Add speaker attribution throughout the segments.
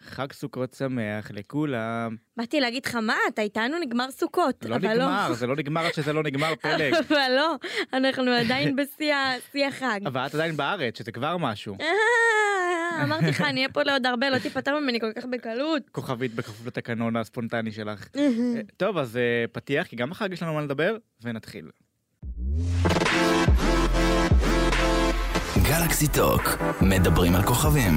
Speaker 1: חג סוכות שמח לכולם.
Speaker 2: באתי להגיד לך מה אתה איתנו נגמר סוכות
Speaker 1: לא
Speaker 2: אבל
Speaker 1: נגמר, זה לא נגמר עד שזה לא נגמר פלג.
Speaker 2: אבל לא אנחנו עדיין בשיא ה- שיא החג.
Speaker 1: אבל את עדיין בארץ, שזה כבר משהו.
Speaker 2: אה, אמרתי לך אני אהיה פה לעוד הרבה לא תיפטר ממני כל כך בקלות.
Speaker 1: כוכבית בכפוף לתקנון הספונטני שלך. אה, טוב, אז אה, פתיח, כי גם החג יש לנו מה לדבר, ונתחיל.
Speaker 3: גלקסי טוק, מדברים על כוכבים.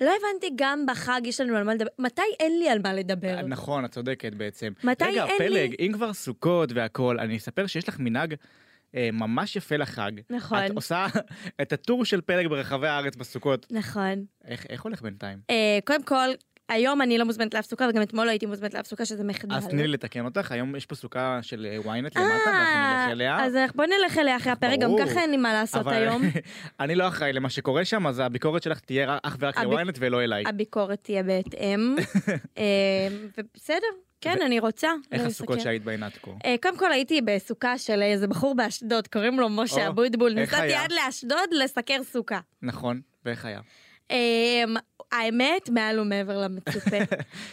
Speaker 2: לא הבנתי גם בחג יש לנו על מה לדבר מתי אין לי על מה לדבר.
Speaker 1: אה, נכון, את צודקת בעצם.
Speaker 2: מתי
Speaker 1: רגע,
Speaker 2: אין
Speaker 1: פלג,
Speaker 2: לי-
Speaker 1: אם כבר סוכות והכל, אני אספר שיש לך מנהג אה, ממש יפה לחג.
Speaker 2: נכון.
Speaker 1: את עושה את הטור של פלג ברחבי הארץ בסוכות.
Speaker 2: נכון.
Speaker 1: איך איך הולך בינתיים?
Speaker 2: אה, קודם כל היום אני לא מוזמנת לאף סוכה וגם אתמול לא הייתי מוזמנת לאף סוכה שזה מחדל.
Speaker 1: אז תני לי לתקן אותך, היום יש פה סוכה של אה, ynet למטה, ואנחנו
Speaker 2: אה,
Speaker 1: נלך אליה.
Speaker 2: אז אנחנו- בוא נלך אליה אחרי הפרק גם
Speaker 1: ברור.
Speaker 2: ככה אין לי מה לעשות
Speaker 1: אבל
Speaker 2: היום.
Speaker 1: אני לא אחראי למה שקורה שם, אז הביקורת שלך תהיה אך ורק
Speaker 2: הב-
Speaker 1: ל-ynet ולא אליי.
Speaker 2: הביקורת תהיה בהתאם. אה, ובסדר, כן, אני רוצה.
Speaker 1: איך
Speaker 2: לא
Speaker 1: הסוכות
Speaker 2: לסכם.
Speaker 1: שהיית בהן עד כה?
Speaker 2: אה, קודם כל הייתי בסוכה של איזה בחור באשדוד, קוראים לו משה
Speaker 1: או,
Speaker 2: אבוטבול.
Speaker 1: איך
Speaker 2: נסעתי
Speaker 1: היה?
Speaker 2: עד לאשדוד לסקר סוכה.
Speaker 1: נכון, ואיך היה?
Speaker 2: אה, האמת, מעל ומעבר למצופה.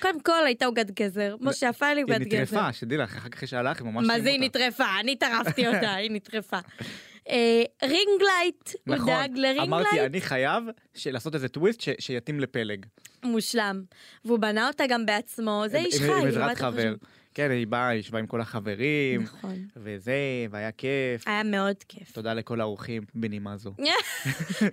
Speaker 2: קודם כל הייתה עוגת גזר. משה עפה לי
Speaker 1: היא
Speaker 2: עוגת גזר.
Speaker 1: נטרפה, שתדעי לך, אחר כך שהלך, היא ממש...
Speaker 2: מה זה היא
Speaker 1: רימו אותה.
Speaker 2: נטרפה? אני טרפתי אותה, היא נטרפה. אה, רינגלייט, הוא
Speaker 1: נכון,
Speaker 2: דאג
Speaker 1: אמרתי,
Speaker 2: לרינגלייט,
Speaker 1: אני חייב ש- לעשות איזה טוויסט ש- שיתאים לפלג.
Speaker 2: מושלם. והוא בנה אותה גם בעצמו, זה
Speaker 1: עם-
Speaker 2: איש
Speaker 1: עם-
Speaker 2: חי.
Speaker 1: עם
Speaker 2: הוא
Speaker 1: עזרת
Speaker 2: בטח חשוב.
Speaker 1: חבר. כן, היא באה, היא ישבה עם כל החברים,
Speaker 2: נכון.
Speaker 1: וזה, והיה כיף.
Speaker 2: היה מאוד כיף.
Speaker 1: תודה לכל האורחים בנימה זו.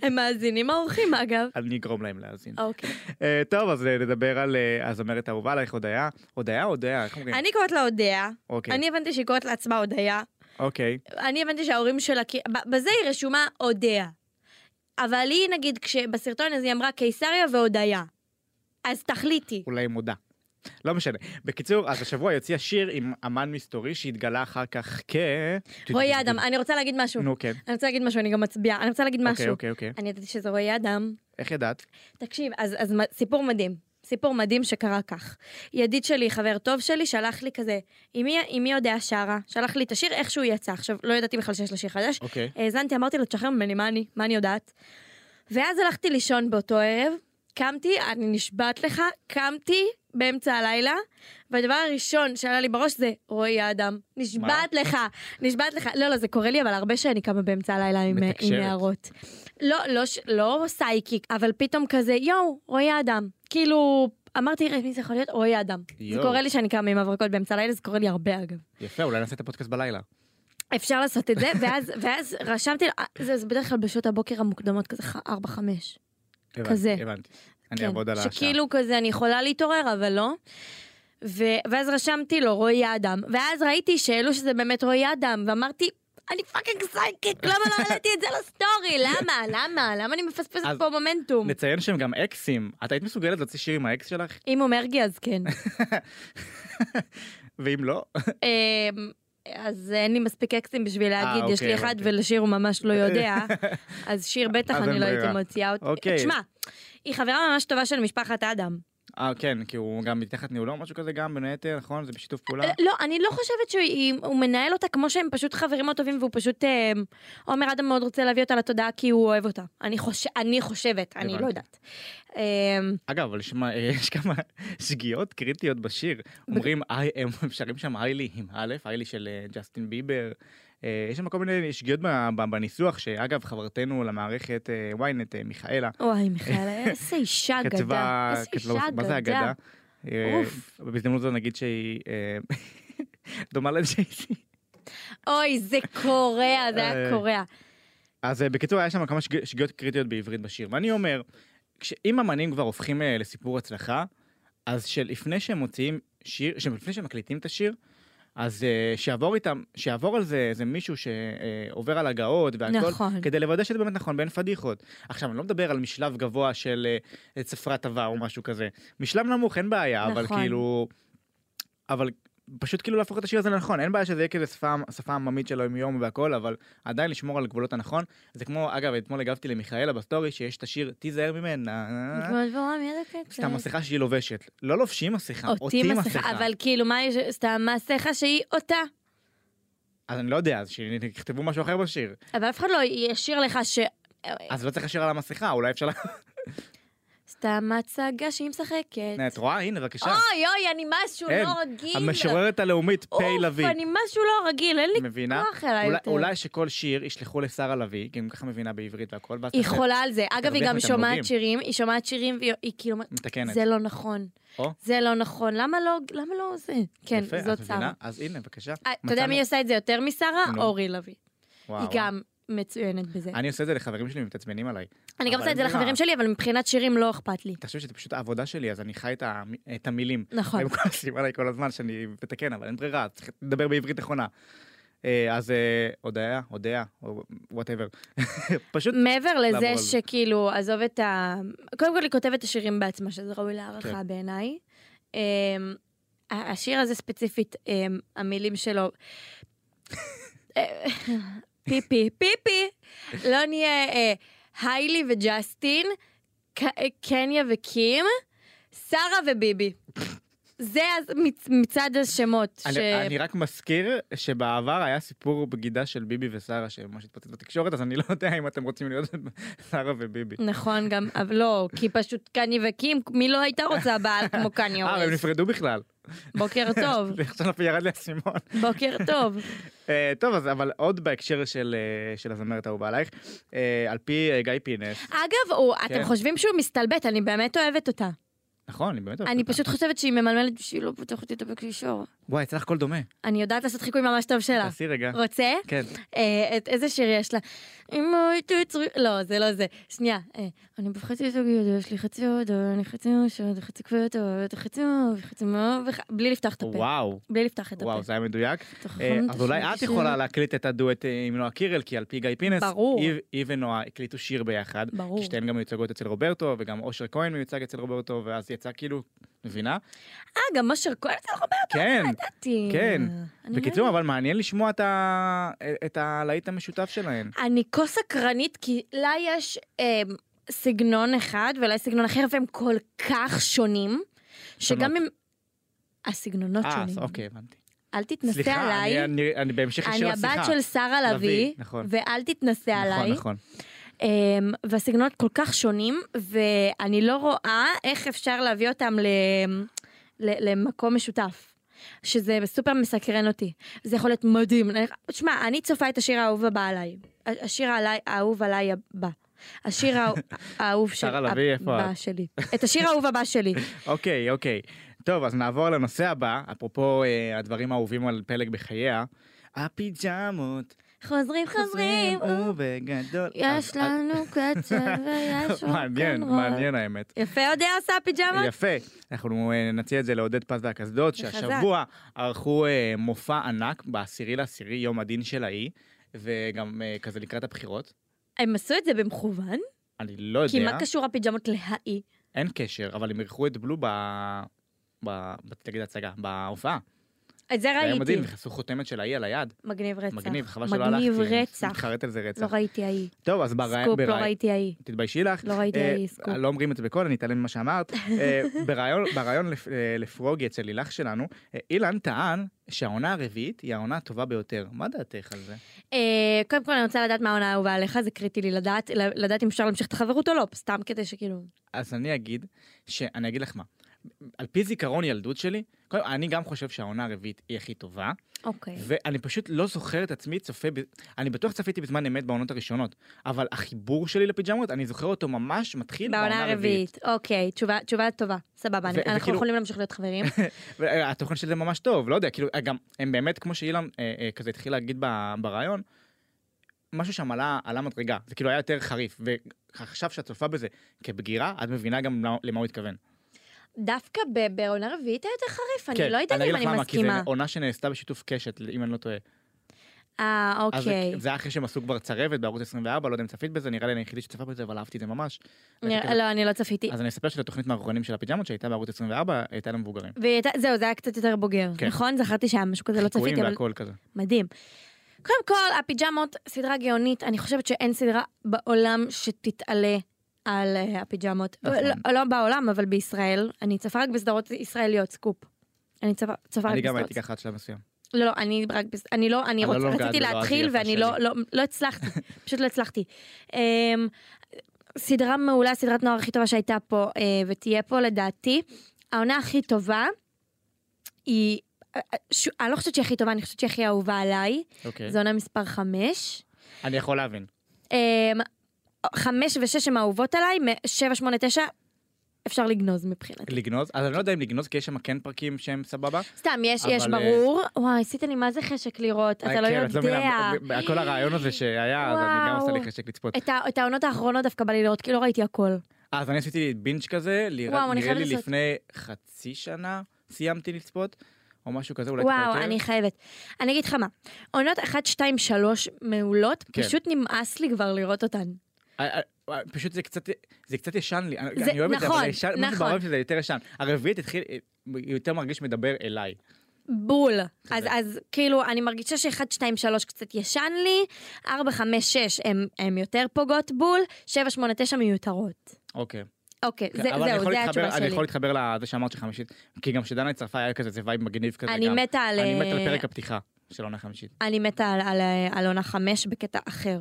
Speaker 2: הם מאזינים האורחים אגב.
Speaker 1: אני אגרום להם להאזין.
Speaker 2: אוקיי.
Speaker 1: אה, טוב, אז אה, נדבר על אה, הזמרת האהובה עלייך, הודיה. הודיה, הודיה, איך אומרים?
Speaker 2: אני קוראת לה הודיה.
Speaker 1: אוקיי.
Speaker 2: אני הבנתי שהיא קוראת לעצמה הודיה.
Speaker 1: אוקיי.
Speaker 2: אני הבנתי שההורים שלה, כי- ב- בזה היא רשומה הודיה. אבל היא נגיד, כשבסרטון הזה היא אמרה קיסריה והודיה. אז תחליטי.
Speaker 1: אולי מודה. לא משנה. בקיצור, אז השבוע יוציא השיר עם אמן מסתורי שהתגלה אחר כך כ...
Speaker 2: רועי אדם, אני רוצה להגיד משהו.
Speaker 1: נו, כן.
Speaker 2: אני רוצה להגיד משהו, אני גם מצביעה. אני רוצה להגיד
Speaker 1: אוקיי,
Speaker 2: משהו.
Speaker 1: אוקיי, אוקיי.
Speaker 2: אני ידעתי שזה רועי אדם.
Speaker 1: איך ידעת?
Speaker 2: תקשיב, אז, אז מה- סיפור מדהים. סיפור מדהים שקרה כך. ידיד שלי, חבר טוב שלי, שלח לי כזה, עם מי, עם מי יודע שרה? שלח לי את השיר, איך שהוא יצא. עכשיו, לא ידעתי בכלל שיש לה שיר חדש.
Speaker 1: אוקיי.
Speaker 2: האזנתי, אמרתי לו, תשחרר ממני, מה אני? מה אני יודעת? ואז הלכתי לישון באותו ערב, קמתי, אני נשבעת לך, קמתי באמצע הלילה, והדבר הראשון שעלה לי בראש זה רועי האדם. נשבעת לך, נשבעת לך. לא, לא, זה קורה לי, אבל הרבה שאני קמה באמצע הלילה עם, עם
Speaker 1: מתקשרת.
Speaker 2: הערות. לא, לא, ש- לא סייקיק, אבל פתאום כזה, יואו, רועי האדם. כאילו, אמרתי, "רגע, מי זה יכול להיות? רועי האדם. זה
Speaker 1: יואו.
Speaker 2: קורה לי שאני קמה עם הברקות באמצע הלילה, זה קורה לי הרבה אגב.
Speaker 1: יפה, אולי נעשה את הפודקאסט בלילה.
Speaker 2: אפשר לעשות את זה, ואז, ואז רשמתי, לו, "אה, זה, זה בדרך כלל בשעות הבוקר המוקדמות, כזה 4-5.
Speaker 1: הבנתי,
Speaker 2: כזה. כן.
Speaker 1: הבנתי. אני אעבוד על השעה.
Speaker 2: שכאילו כזה אני יכולה להתעורר, אבל לא. ו, ואז רשמתי לו רועי אדם, ואז ראיתי שהעלו שזה באמת רועי אדם, ואמרתי, אני פאקינג סייקיק, למה לא העליתי את זה לסטורי? למה? למה? למה אני מפספסת
Speaker 1: אז
Speaker 2: פה מומנטום?
Speaker 1: נציין שהם גם אקסים. את היית מסוגלת להוציא שיר עם האקס שלך?
Speaker 2: אם הוא מרגי אז כן.
Speaker 1: ואם לא,
Speaker 2: אמ, אז אין לי מספיק אקסים בשביל להגיד, יש
Speaker 1: אוקיי,
Speaker 2: לי אחד
Speaker 1: הבנתי.
Speaker 2: ולשיר הוא ממש לא יודע, אז שיר בטח
Speaker 1: אז
Speaker 2: אני
Speaker 1: אין
Speaker 2: לא
Speaker 1: ברירה.
Speaker 2: הייתי מוציאה אותו.
Speaker 1: אוקיי.
Speaker 2: תשמע, היא חברה ממש טובה של משפחת אדם.
Speaker 1: אה כן, כי הוא גם מתחת ניהולו, משהו כזה גם, בין היתר, נכון? זה בשיתוף פעולה?
Speaker 2: לא, אני לא חושבת שהוא מנהל אותה כמו שהם פשוט חברים מאוד טובים, והוא פשוט, אמ, עומר אדם מאוד רוצה להביא אותה לתודעה כי הוא אוהב אותה. אני חוש- אני חושבת, אני
Speaker 1: הבנתי.
Speaker 2: לא יודעת. אמ,
Speaker 1: אגב, אבל שמע, אה, יש כמה שגיאות קריטיות בשיר. אומרים, "I am", הם שרים שם היילי עם א', היילי של אה, ג'סטין ביבר. אה, יש שם כל מיני שגיאות ב- ב- בניסוח, שאגב, חברתנו למערכת אה, ynet, אה, מיכאלה,
Speaker 2: וואי, מיכאל, איזה אישה
Speaker 1: כתבה,
Speaker 2: אגדה. איזה
Speaker 1: כתבה- לא
Speaker 2: אישה
Speaker 1: מה זה אגדה?
Speaker 2: אגדה.
Speaker 1: אה,
Speaker 2: אוף.
Speaker 1: בהזדמנות זו נגיד שהיא אה, דומה לג'ייסי.
Speaker 2: אוי, זה קורע, זה
Speaker 1: אה,
Speaker 2: היה קורע.
Speaker 1: אז אה, בקיצור היה שם כמה שג- שגיאות קריטיות בעברית בשיר ואני אומר כש- אם אמנים כבר הופכים אה, לסיפור הצלחה אז שלפני שהם מוציאים שיר שלפני שהם מקליטים את השיר אז אה, שיעבור איתם שיעבור על זה איזה מישהו שעובר על הגאות והכל
Speaker 2: נכון.
Speaker 1: כדי לוודא שזה באמת נכון בין פדיחות עכשיו אני לא מדבר על משלב גבוה של אה, צפרת עבר או משהו כזה משלב נמוך אין בעיה אבל
Speaker 2: נכון.
Speaker 1: כאילו אבל. פשוט כאילו להפוך את השיר הזה לנכון אין בעיה שזה יהיה כזה שפה שפה עממית של היום יום והכל אבל עדיין לשמור על גבולות הנכון זה כמו אגב אתמול הגבתי למיכאלה בסטורי שיש את השיר תיזהר ממנה
Speaker 2: נכון, לא
Speaker 1: סתם
Speaker 2: אה,
Speaker 1: מסכה שהיא לובשת לא לובשים מסכה
Speaker 2: אותי מסכה, אבל כאילו מה יש, סתם מסכה שהיא אותה.
Speaker 1: אז אני לא יודע, אז שיכתבו משהו אחר בשיר.
Speaker 2: אבל אף אחד לא ישיר לך ש...
Speaker 1: אז לא צריך לשיר על המסכה, אולי אפשר... לה-
Speaker 2: סתם הצגה שהיא משחקת.
Speaker 1: הנה, את רואה? הנה, בבקשה.
Speaker 2: אוי אוי, אני משהו
Speaker 1: אין.
Speaker 2: לא רגיל.
Speaker 1: המשוררת הלאומית, פיי לביא.
Speaker 2: אוף, אני משהו לא רגיל, אין לי
Speaker 1: מבינה?
Speaker 2: כוח אליי
Speaker 1: אולי-
Speaker 2: יותר.
Speaker 1: אולי שכל שיר ישלחו לשרה לביא, כי היא ככה מבינה בעברית והכל, ואז
Speaker 2: היא
Speaker 1: תעשה-
Speaker 2: חולה על זה. אגב, היא
Speaker 1: תרוויח
Speaker 2: גם
Speaker 1: מתמלוגים.
Speaker 2: שומעת שירים, היא שומעת שירים והיא היא כאילו... אומרת,
Speaker 1: מתקנת.
Speaker 2: זה לא נכון.
Speaker 1: או.
Speaker 2: זה לא נכון. למה לא... למה לא זה? כן,
Speaker 1: יפה, את
Speaker 2: זאת
Speaker 1: מבינה?
Speaker 2: שרה.
Speaker 1: אז הנה, בבקשה.
Speaker 2: אה, אתה יודע
Speaker 1: מצאנו-
Speaker 2: מי עושה את זה יותר משרה?
Speaker 1: נו.
Speaker 2: אורי לוי.
Speaker 1: וואו,
Speaker 2: היא
Speaker 1: וואו.
Speaker 2: גם מצוינת בזה.
Speaker 1: אני עושה את זה לחברים שלי, הם מתעצבנים עליי.
Speaker 2: אני גם
Speaker 1: אבל לא-
Speaker 2: עושה את זה
Speaker 1: אין ברירה.
Speaker 2: לחברים שלי, אבל מבחינת שירים לא אכפת לי.
Speaker 1: תחשוב שזה פשוט העבודה שלי, אז אני חי את ה- את המילים.
Speaker 2: נכון.
Speaker 1: הם כועסים עליי כל הזמן שאני מתקן, אבל אין ברירה, צריך לדבר בעברית נכונה. אה, אז אה, הודיה, הודיה, או וואטאבר. פשוט,
Speaker 2: מעבר
Speaker 1: לעבור
Speaker 2: לזה
Speaker 1: על זה.
Speaker 2: שכאילו, עזוב את ה... קודם כל היא כותבת את השירים בעצמה, שזה ראוי להערכה
Speaker 1: כן.
Speaker 2: בעיניי. אמ, ה- השיר הזה ספציפית, אמ, המילים שלו... אה, פיפי, פיפי, לא נהיה אה, היילי וג'סטין, ק- אה, קניה וקים, שרה וביבי. זה אז מצ- מצעד השמות. ש-
Speaker 1: אני אני רק מזכיר שבעבר היה סיפור בגידה של ביבי ושרה, שממש התפוצץ בתקשורת, אז אני לא יודע אם אתם רוצים להיות שרה וביבי.
Speaker 2: נכון, גם, אבל לא, כי פשוט קני וקים, מי לא הייתה רוצה בעל כמו קני
Speaker 1: אה, הם
Speaker 2: אורס?
Speaker 1: נפרדו בכלל.
Speaker 2: בוקר טוב,
Speaker 1: עכשיו ירד לי האסימון.
Speaker 2: בוקר טוב.
Speaker 1: אה, טוב, אז אבל עוד בהקשר של, אה, של הזמרת האהובה עלייך, אה, על פי אה, גיא פינס,
Speaker 2: אגב, הוא,
Speaker 1: כן.
Speaker 2: אתם חושבים שהוא מסתלבט, אני באמת אוהבת אותה.
Speaker 1: נכון, אני באמת אוהבת
Speaker 2: אני
Speaker 1: אותה.
Speaker 2: פשוט חושבת שהיא ממלמלת בשביל לא פותח אותי את הקישור.
Speaker 1: וואי, אצלך קול דומה.
Speaker 2: אני יודעת לעשות חיקוי ממש טוב שלה.
Speaker 1: תעשי רגע.
Speaker 2: רוצה?
Speaker 1: כן.
Speaker 2: אה, את איזה שיר יש לה? אם הייתי צריך... לא, זה לא זה. שנייה. אה, אני בחצי זוגיות, יש לי חצי עוד, אני חצי ראשון, חצי כבדות, חצי אוהב, חצי מאוהב, וח- בלי לפתוח את הפה.
Speaker 1: וואו,
Speaker 2: בלי לפתוח את הפה.
Speaker 1: וואו, זה היה מדויק.
Speaker 2: אתה חכם,
Speaker 1: אה,
Speaker 2: אתה
Speaker 1: אז אולי
Speaker 2: חכם,
Speaker 1: את
Speaker 2: שיר.
Speaker 1: יכולה להקליט את הדואט אה, עם נועה קירל, כי על פי גיא פינס,
Speaker 2: ברור.
Speaker 1: היא- היא ונועה הקליטו שיר ביחד.
Speaker 2: ברור.
Speaker 1: כי שתיהן גם מיוצגות אצל רוברטו, וגם אושר כהן מיוצג אצל רוברטו, ואז יצא כאילו, מבינה?
Speaker 2: אה, גם אשר כהן זה לא חבר
Speaker 1: כן.
Speaker 2: דעתי.
Speaker 1: כן.
Speaker 2: אני לא
Speaker 1: בקיצור, אבל מעניין לשמוע את ה- את הלהיט המשותף שלהן.
Speaker 2: אני כה סקרנית, כי לה יש אה, סגנון אחד ולה יש סגנון אחר, והם כל כך שונים, שגם אם... הסגנונות
Speaker 1: אה,
Speaker 2: שונים.
Speaker 1: אוקיי, הבנתי.
Speaker 2: אל תתנסה
Speaker 1: סליחה,
Speaker 2: עליי.
Speaker 1: אני- אני- אני בהמשך ישיר
Speaker 2: אני
Speaker 1: לשיחה.
Speaker 2: הבת של שרה לביא,
Speaker 1: לביא, נכון.
Speaker 2: ואל תתנסה עליי.
Speaker 1: נכון, נכון.
Speaker 2: אמ, והסגנונות כל כך שונים, ואני לא רואה איך אפשר להביא אותם ל- ל- למקום משותף. שזה סופר מסקרן אותי. זה יכול להיות מדהים. אני- שמע, אני צופה את השיר האהוב הבא עליי. ה- השיר העלי- האהוב עליי הבא. השיר האהוב- האהוב של...
Speaker 1: שרה לביא, איפה את?
Speaker 2: הבא שלי. את השיר האהוב הבא שלי.
Speaker 1: אוקיי, אוקיי. טוב, אז נעבור לנושא הבא, אפרופו אה, הדברים האהובים על פלג בחייה. הפיג'מות
Speaker 2: חוזרים חוזרים,
Speaker 1: אה, ובגדול. אז-
Speaker 2: יש לנו קצב ויש
Speaker 1: אז- אה, מעניין,
Speaker 2: רוקנרול.
Speaker 1: מעניין האמת.
Speaker 2: יפה יודע עושה פיג'מה?
Speaker 1: יפה, אנחנו אה, נציע את זה לעודד פז והקסדות,
Speaker 2: זה חזק.
Speaker 1: שהשבוע ערכו אה, מופע ענק בעשירי לעשירי, יום הדין של האי, וגם אה, כזה לקראת הבחירות.
Speaker 2: הם עשו את זה במכוון?
Speaker 1: אני לא יודע.
Speaker 2: כי מה קשור הפיג'מות להאי?
Speaker 1: אין קשר, אבל הם אירחו את בלו ב... ב... ב- תגיד הצגה, בהופעה.
Speaker 2: את זה
Speaker 1: זה היה
Speaker 2: ראיתי.
Speaker 1: מדהים, נכנסו חותמת של האי על היד.
Speaker 2: מגניב אה, רצח.
Speaker 1: מגניב, חבל שלא הלכתי.
Speaker 2: מגניב
Speaker 1: אני
Speaker 2: רצח.
Speaker 1: מתחרט על זה רצח.
Speaker 2: לא ראיתי ההיא.
Speaker 1: טוב, אז בראי...
Speaker 2: סקופ, לא
Speaker 1: בראי-
Speaker 2: ראיתי ההיא.
Speaker 1: תתביישי לך.
Speaker 2: לא ראיתי
Speaker 1: אה,
Speaker 2: ההיא, סקופ.
Speaker 1: לא אומרים את זה בקול, אני אתעלם ממה שאמרת. אה, בריאיון בריאיון לפ- אה, לפרוגי אצל לילך שלנו, אה, אילן טען שהעונה הרביעית היא העונה הטובה ביותר. מה דעתך על זה?
Speaker 2: אה, קודם כל אני רוצה לדעת מה העונה האהובה עליך, זה קריטי לי לדעת, ל- לדעת אם אפשר להמשיך את החברות או לא, סתם כדי שכאילו...
Speaker 1: אז אני אגיד, ש- אני אגיד לך מה. על פי זיכרון ילדות שלי, קודם, אני גם חושב שהעונה הרביעית היא הכי טובה,
Speaker 2: אוקיי.
Speaker 1: ואני פשוט לא זוכר את עצמי צופה, ב... אני בטוח צפיתי בזמן אמת בעונות הראשונות, אבל החיבור שלי לפיג'מות, אני זוכר אותו ממש מתחיל
Speaker 2: בעונה הרביעית. אוקיי, תשובה- תשובה טובה, סבבה, אני-
Speaker 1: ו-
Speaker 2: אנחנו
Speaker 1: וכאילו-
Speaker 2: יכולים להמשיך להיות חברים.
Speaker 1: והתוכן של זה ממש טוב, לא יודע, כאילו, גם, הם באמת, כמו שאילן אה, אה, כזה התחיל להגיד ב- בריאיון, משהו שם עלה, עלה מדרגה, זה כאילו היה יותר חריף, ועכשיו שאת צופה בזה כבגירה, את מבינה גם למה- למה הוא התכוון.
Speaker 2: דווקא ב- בעונה רביעית היה יותר חריף,
Speaker 1: כן,
Speaker 2: אני לא יודעת
Speaker 1: אגיד
Speaker 2: אם
Speaker 1: לך
Speaker 2: אני
Speaker 1: למה, כי
Speaker 2: מסכימה.
Speaker 1: זו עונה שנעשתה בשיתוף קשת, אם אני לא טועה.
Speaker 2: אה,
Speaker 1: אז זה-
Speaker 2: אוקיי.
Speaker 1: זה היה אחרי שהם עשו כבר צרבת בערוץ 24, לא יודע אם צפית בזה, נראה לי אני היחידי שצפה בזה, אבל אהבתי את זה ממש.
Speaker 2: נראה-
Speaker 1: וכתבת-
Speaker 2: לא, אני לא צפיתי.
Speaker 1: אז אני אספר שלתוכנית מערכונים של הפיג'מות שהייתה בערוץ 24, הייתה למבוגרים.
Speaker 2: והייתה- זהו, זה היה קצת יותר בוגר,
Speaker 1: כן.
Speaker 2: נכון? זכרתי שהיה משהו כזה, לא
Speaker 1: חיקויים
Speaker 2: צפיתי, אבל
Speaker 1: והכל כזה.
Speaker 2: מדהים. קודם כל, הפיג'מות, סדרה גאונית, אני חושבת שאין סדרה בעולם שתתעלה על אה, הפיג'מות.
Speaker 1: נכון.
Speaker 2: לא, לא בעולם, אבל בישראל. אני צופה רק בסדרות ישראליות, סקופ. אני צופה, צופה רק
Speaker 1: אני גם
Speaker 2: בסדרות.
Speaker 1: הייתי ככה עד שלב מסוים.
Speaker 2: לא, לא, אני רק, בס- אני לא, אני
Speaker 1: אבל
Speaker 2: רוצ,
Speaker 1: לא נוגעת
Speaker 2: רציתי
Speaker 1: בלועז, היא
Speaker 2: להתחיל
Speaker 1: יפה
Speaker 2: ואני
Speaker 1: שלי.
Speaker 2: לא, לא, לא הצלחתי, פשוט לא הצלחתי. אמ, סדרה מעולה, סדרת נוער הכי טובה שהייתה פה אה, ותהיה פה לדעתי. העונה הכי טובה היא, אה, אה, ש- אני לא חושבת שהיא הכי טובה, אני חושבת שהיא הכי אהובה עליי.
Speaker 1: אוקיי.
Speaker 2: זו עונה מספר חמש.
Speaker 1: אני יכול להבין.
Speaker 2: אמ, חמש ושש הן אהובות עליי, מ- שבע, שמונה, תשע, אפשר לגנוז מבחינתי.
Speaker 1: לגנוז? אז אני לא יודע אם לגנוז, כי יש שם כן פרקים שהם סבבה.
Speaker 2: סתם, יש,
Speaker 1: אבל,
Speaker 2: יש,
Speaker 1: אה,
Speaker 2: ברור. וואי, עשית לי מה זה חשק לראות, אתה לא
Speaker 1: כן, את
Speaker 2: יודע.
Speaker 1: מבינה, ב- ב- כל הרעיון הזה שהיה, אז אני גם
Speaker 2: וואו.
Speaker 1: עושה לי חשק לצפות.
Speaker 2: את ה- את העונות האחרונות דווקא בא לי לראות, כי לא ראיתי הכל.
Speaker 1: אז אני עשיתי בינץ' כזה, לרא-
Speaker 2: וואו, אני
Speaker 1: נראה
Speaker 2: חייבת
Speaker 1: לי
Speaker 2: לעשות.
Speaker 1: לפני חצי שנה סיימתי לצפות, או משהו כזה, אולי טיפה
Speaker 2: וואו,
Speaker 1: יותר.
Speaker 2: אני חייבת. אני אגיד לך מה, עונות 1, 2, 3 מעולות,
Speaker 1: כן.
Speaker 2: פשוט נמאס לי כבר לראות אותן.
Speaker 1: אה, אה, פשוט זה קצת, זה קצת ישן לי, אני
Speaker 2: זה-
Speaker 1: אני אוהב את זה, אבל
Speaker 2: נכון,
Speaker 1: זה ישן, משהו
Speaker 2: נכון.
Speaker 1: בעולם שזה יותר ישן. הרביעית התחיל, אה, יותר מרגיש מדבר אליי.
Speaker 2: בול. אז,
Speaker 1: צודק.
Speaker 2: אז כאילו, אני מרגישה ש-1, 2, 3 קצת ישן לי, 4, 5, 6 הן יותר פוגעות בול, 7, 8, 9 מיותרות.
Speaker 1: אוקיי.
Speaker 2: אוקיי,
Speaker 1: כן,
Speaker 2: זה,
Speaker 1: אבל אני
Speaker 2: זהו,
Speaker 1: יכול
Speaker 2: זה
Speaker 1: להתחבר-
Speaker 2: התשובה
Speaker 1: אני יכול
Speaker 2: שלי.
Speaker 1: להתחבר לזה שאמרת שחמישית, כי גם כשדנה הצטרפה היה כזה, זה וייב מגניב כזה
Speaker 2: אני
Speaker 1: גם.
Speaker 2: מתה על...
Speaker 1: אני מת
Speaker 2: אה,
Speaker 1: על פרק הפתיחה של עונה חמישית.
Speaker 2: אני מתה על- על, אה, על עונה 5 בקטע אחר.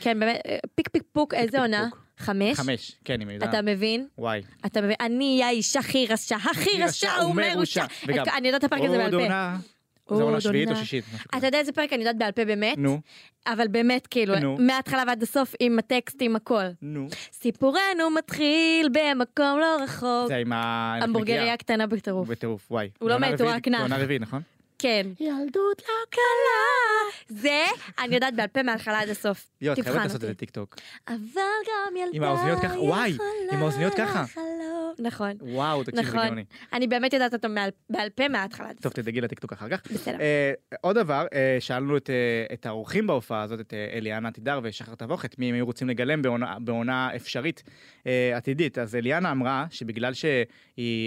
Speaker 2: כן, באמת, אה, פיק פיק פוק, איזה
Speaker 1: פיק,
Speaker 2: עונה?
Speaker 1: פוק.
Speaker 2: חמש?
Speaker 1: חמש, כן, עם יהודה.
Speaker 2: אתה מבין?
Speaker 1: וואי.
Speaker 2: אתה מבין? אני האיש הכי רשע, הכי רשע, הוא מרושע.
Speaker 1: וגם,
Speaker 2: את- אני יודעת את הפרק הזה בעל
Speaker 1: עוד
Speaker 2: פה.
Speaker 1: עונה,
Speaker 2: עוד
Speaker 1: זה עונה שביעית או
Speaker 2: עונה.
Speaker 1: שישית. משהו
Speaker 2: אתה
Speaker 1: כזה.
Speaker 2: יודע איזה פרק אני יודעת בעל פה באמת,
Speaker 1: נו,
Speaker 2: אבל באמת כאילו,
Speaker 1: נו.
Speaker 2: מההתחלה ועד הסוף עם הטקסט, עם הכל.
Speaker 1: נו.
Speaker 2: סיפורנו מתחיל במקום לא רחוק.
Speaker 1: זה עם ה...
Speaker 2: המבורגריה קטנה בטירוף.
Speaker 1: בטירוף, וואי.
Speaker 2: הוא לא
Speaker 1: בעונה
Speaker 2: מת, הוא
Speaker 1: רביעית-
Speaker 2: רק נח.
Speaker 1: בעונה רביעית, נכון?
Speaker 2: כן. ילדות לא קלה. זה, אני יודעת בעל פה מההתחלה עד הסוף.
Speaker 1: יואו, את חייבת
Speaker 2: תבחן
Speaker 1: לעשות את
Speaker 2: אותי.
Speaker 1: זה טיקטוק.
Speaker 2: אבל גם ילדה
Speaker 1: עם האוזניות ככה, וואי,
Speaker 2: יכולה
Speaker 1: עם האוזניות ככה.
Speaker 2: לחלום. נכון.
Speaker 1: וואו, תקשיב, זה
Speaker 2: נכון.
Speaker 1: גאוני.
Speaker 2: אני באמת יודעת אותו מעל- בעל פה מההתחלה. עד
Speaker 1: טוב, תדאגי לטיקטוק אחר כך.
Speaker 2: בסדר.
Speaker 1: אה, עוד דבר, אה, שאלנו את, אה, את האורחים בהופעה הזאת, את אה, אליאנה תידר ושחר תבוך, את מי הם היו רוצים לגלם בעונה, בעונה אפשרית אה, עתידית. אז אליאנה אמרה שבגלל שהיא,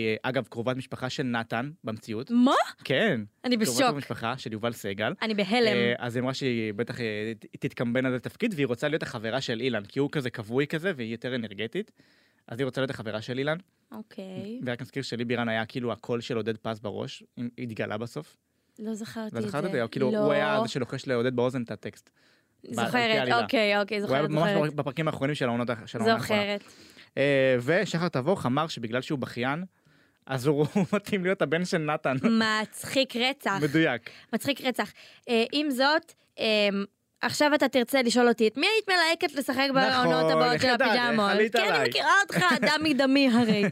Speaker 1: אה, אגב, קרובת משפחה של נתן במציאות,
Speaker 2: מה?
Speaker 1: כן,
Speaker 2: אני
Speaker 1: קרובת
Speaker 2: בשוק.
Speaker 1: משפחה של יובל סגל,
Speaker 2: אני בהלם.
Speaker 1: אה, אז היא אמרה שהיא בטח אה, ת- תתקמבן על התפקיד, והיא רוצה להיות החברה של אילן, כי הוא כזה כבוי כזה, והיא יותר אנרגטית. אז היא רוצה להיות החברה של אילן,
Speaker 2: אוקיי.
Speaker 1: ורק נזכיר שלי בירן היה כאילו הקול של עודד פז בראש, אם- היא התגלה בסוף.
Speaker 2: לא זכרתי את זה.
Speaker 1: לא זכרת את זה? כאילו, הוא היה זה שלוחש לעודד באוזן את הטקסט. לפי
Speaker 2: זוכרת,
Speaker 1: העלילה.
Speaker 2: אוקיי, אוקיי,
Speaker 1: הוא היה
Speaker 2: זוכרת,
Speaker 1: ממש
Speaker 2: זוכרת.
Speaker 1: בפרקים האחרונים של העונות האח- של העונה האחרונה.
Speaker 2: זוכרת.
Speaker 1: אה, ושחר תבוך אמר שבגלל שהוא בכיין, אז הוא הוא מתאים להיות הבן של נתן.
Speaker 2: מצחיק רצח.
Speaker 1: מדויק.
Speaker 2: מצחיק רצח. אה, עם זאת, אה, עכשיו אתה תרצה לשאול אותי את מי היית מלהקת לשחק בעונות הבאות
Speaker 1: נכון, איך
Speaker 2: של
Speaker 1: ידעת? איך
Speaker 2: הפיג'מות?
Speaker 1: עלית
Speaker 2: כי אני
Speaker 1: עליי?
Speaker 2: מכירה אותך, אדם מדמי הרי.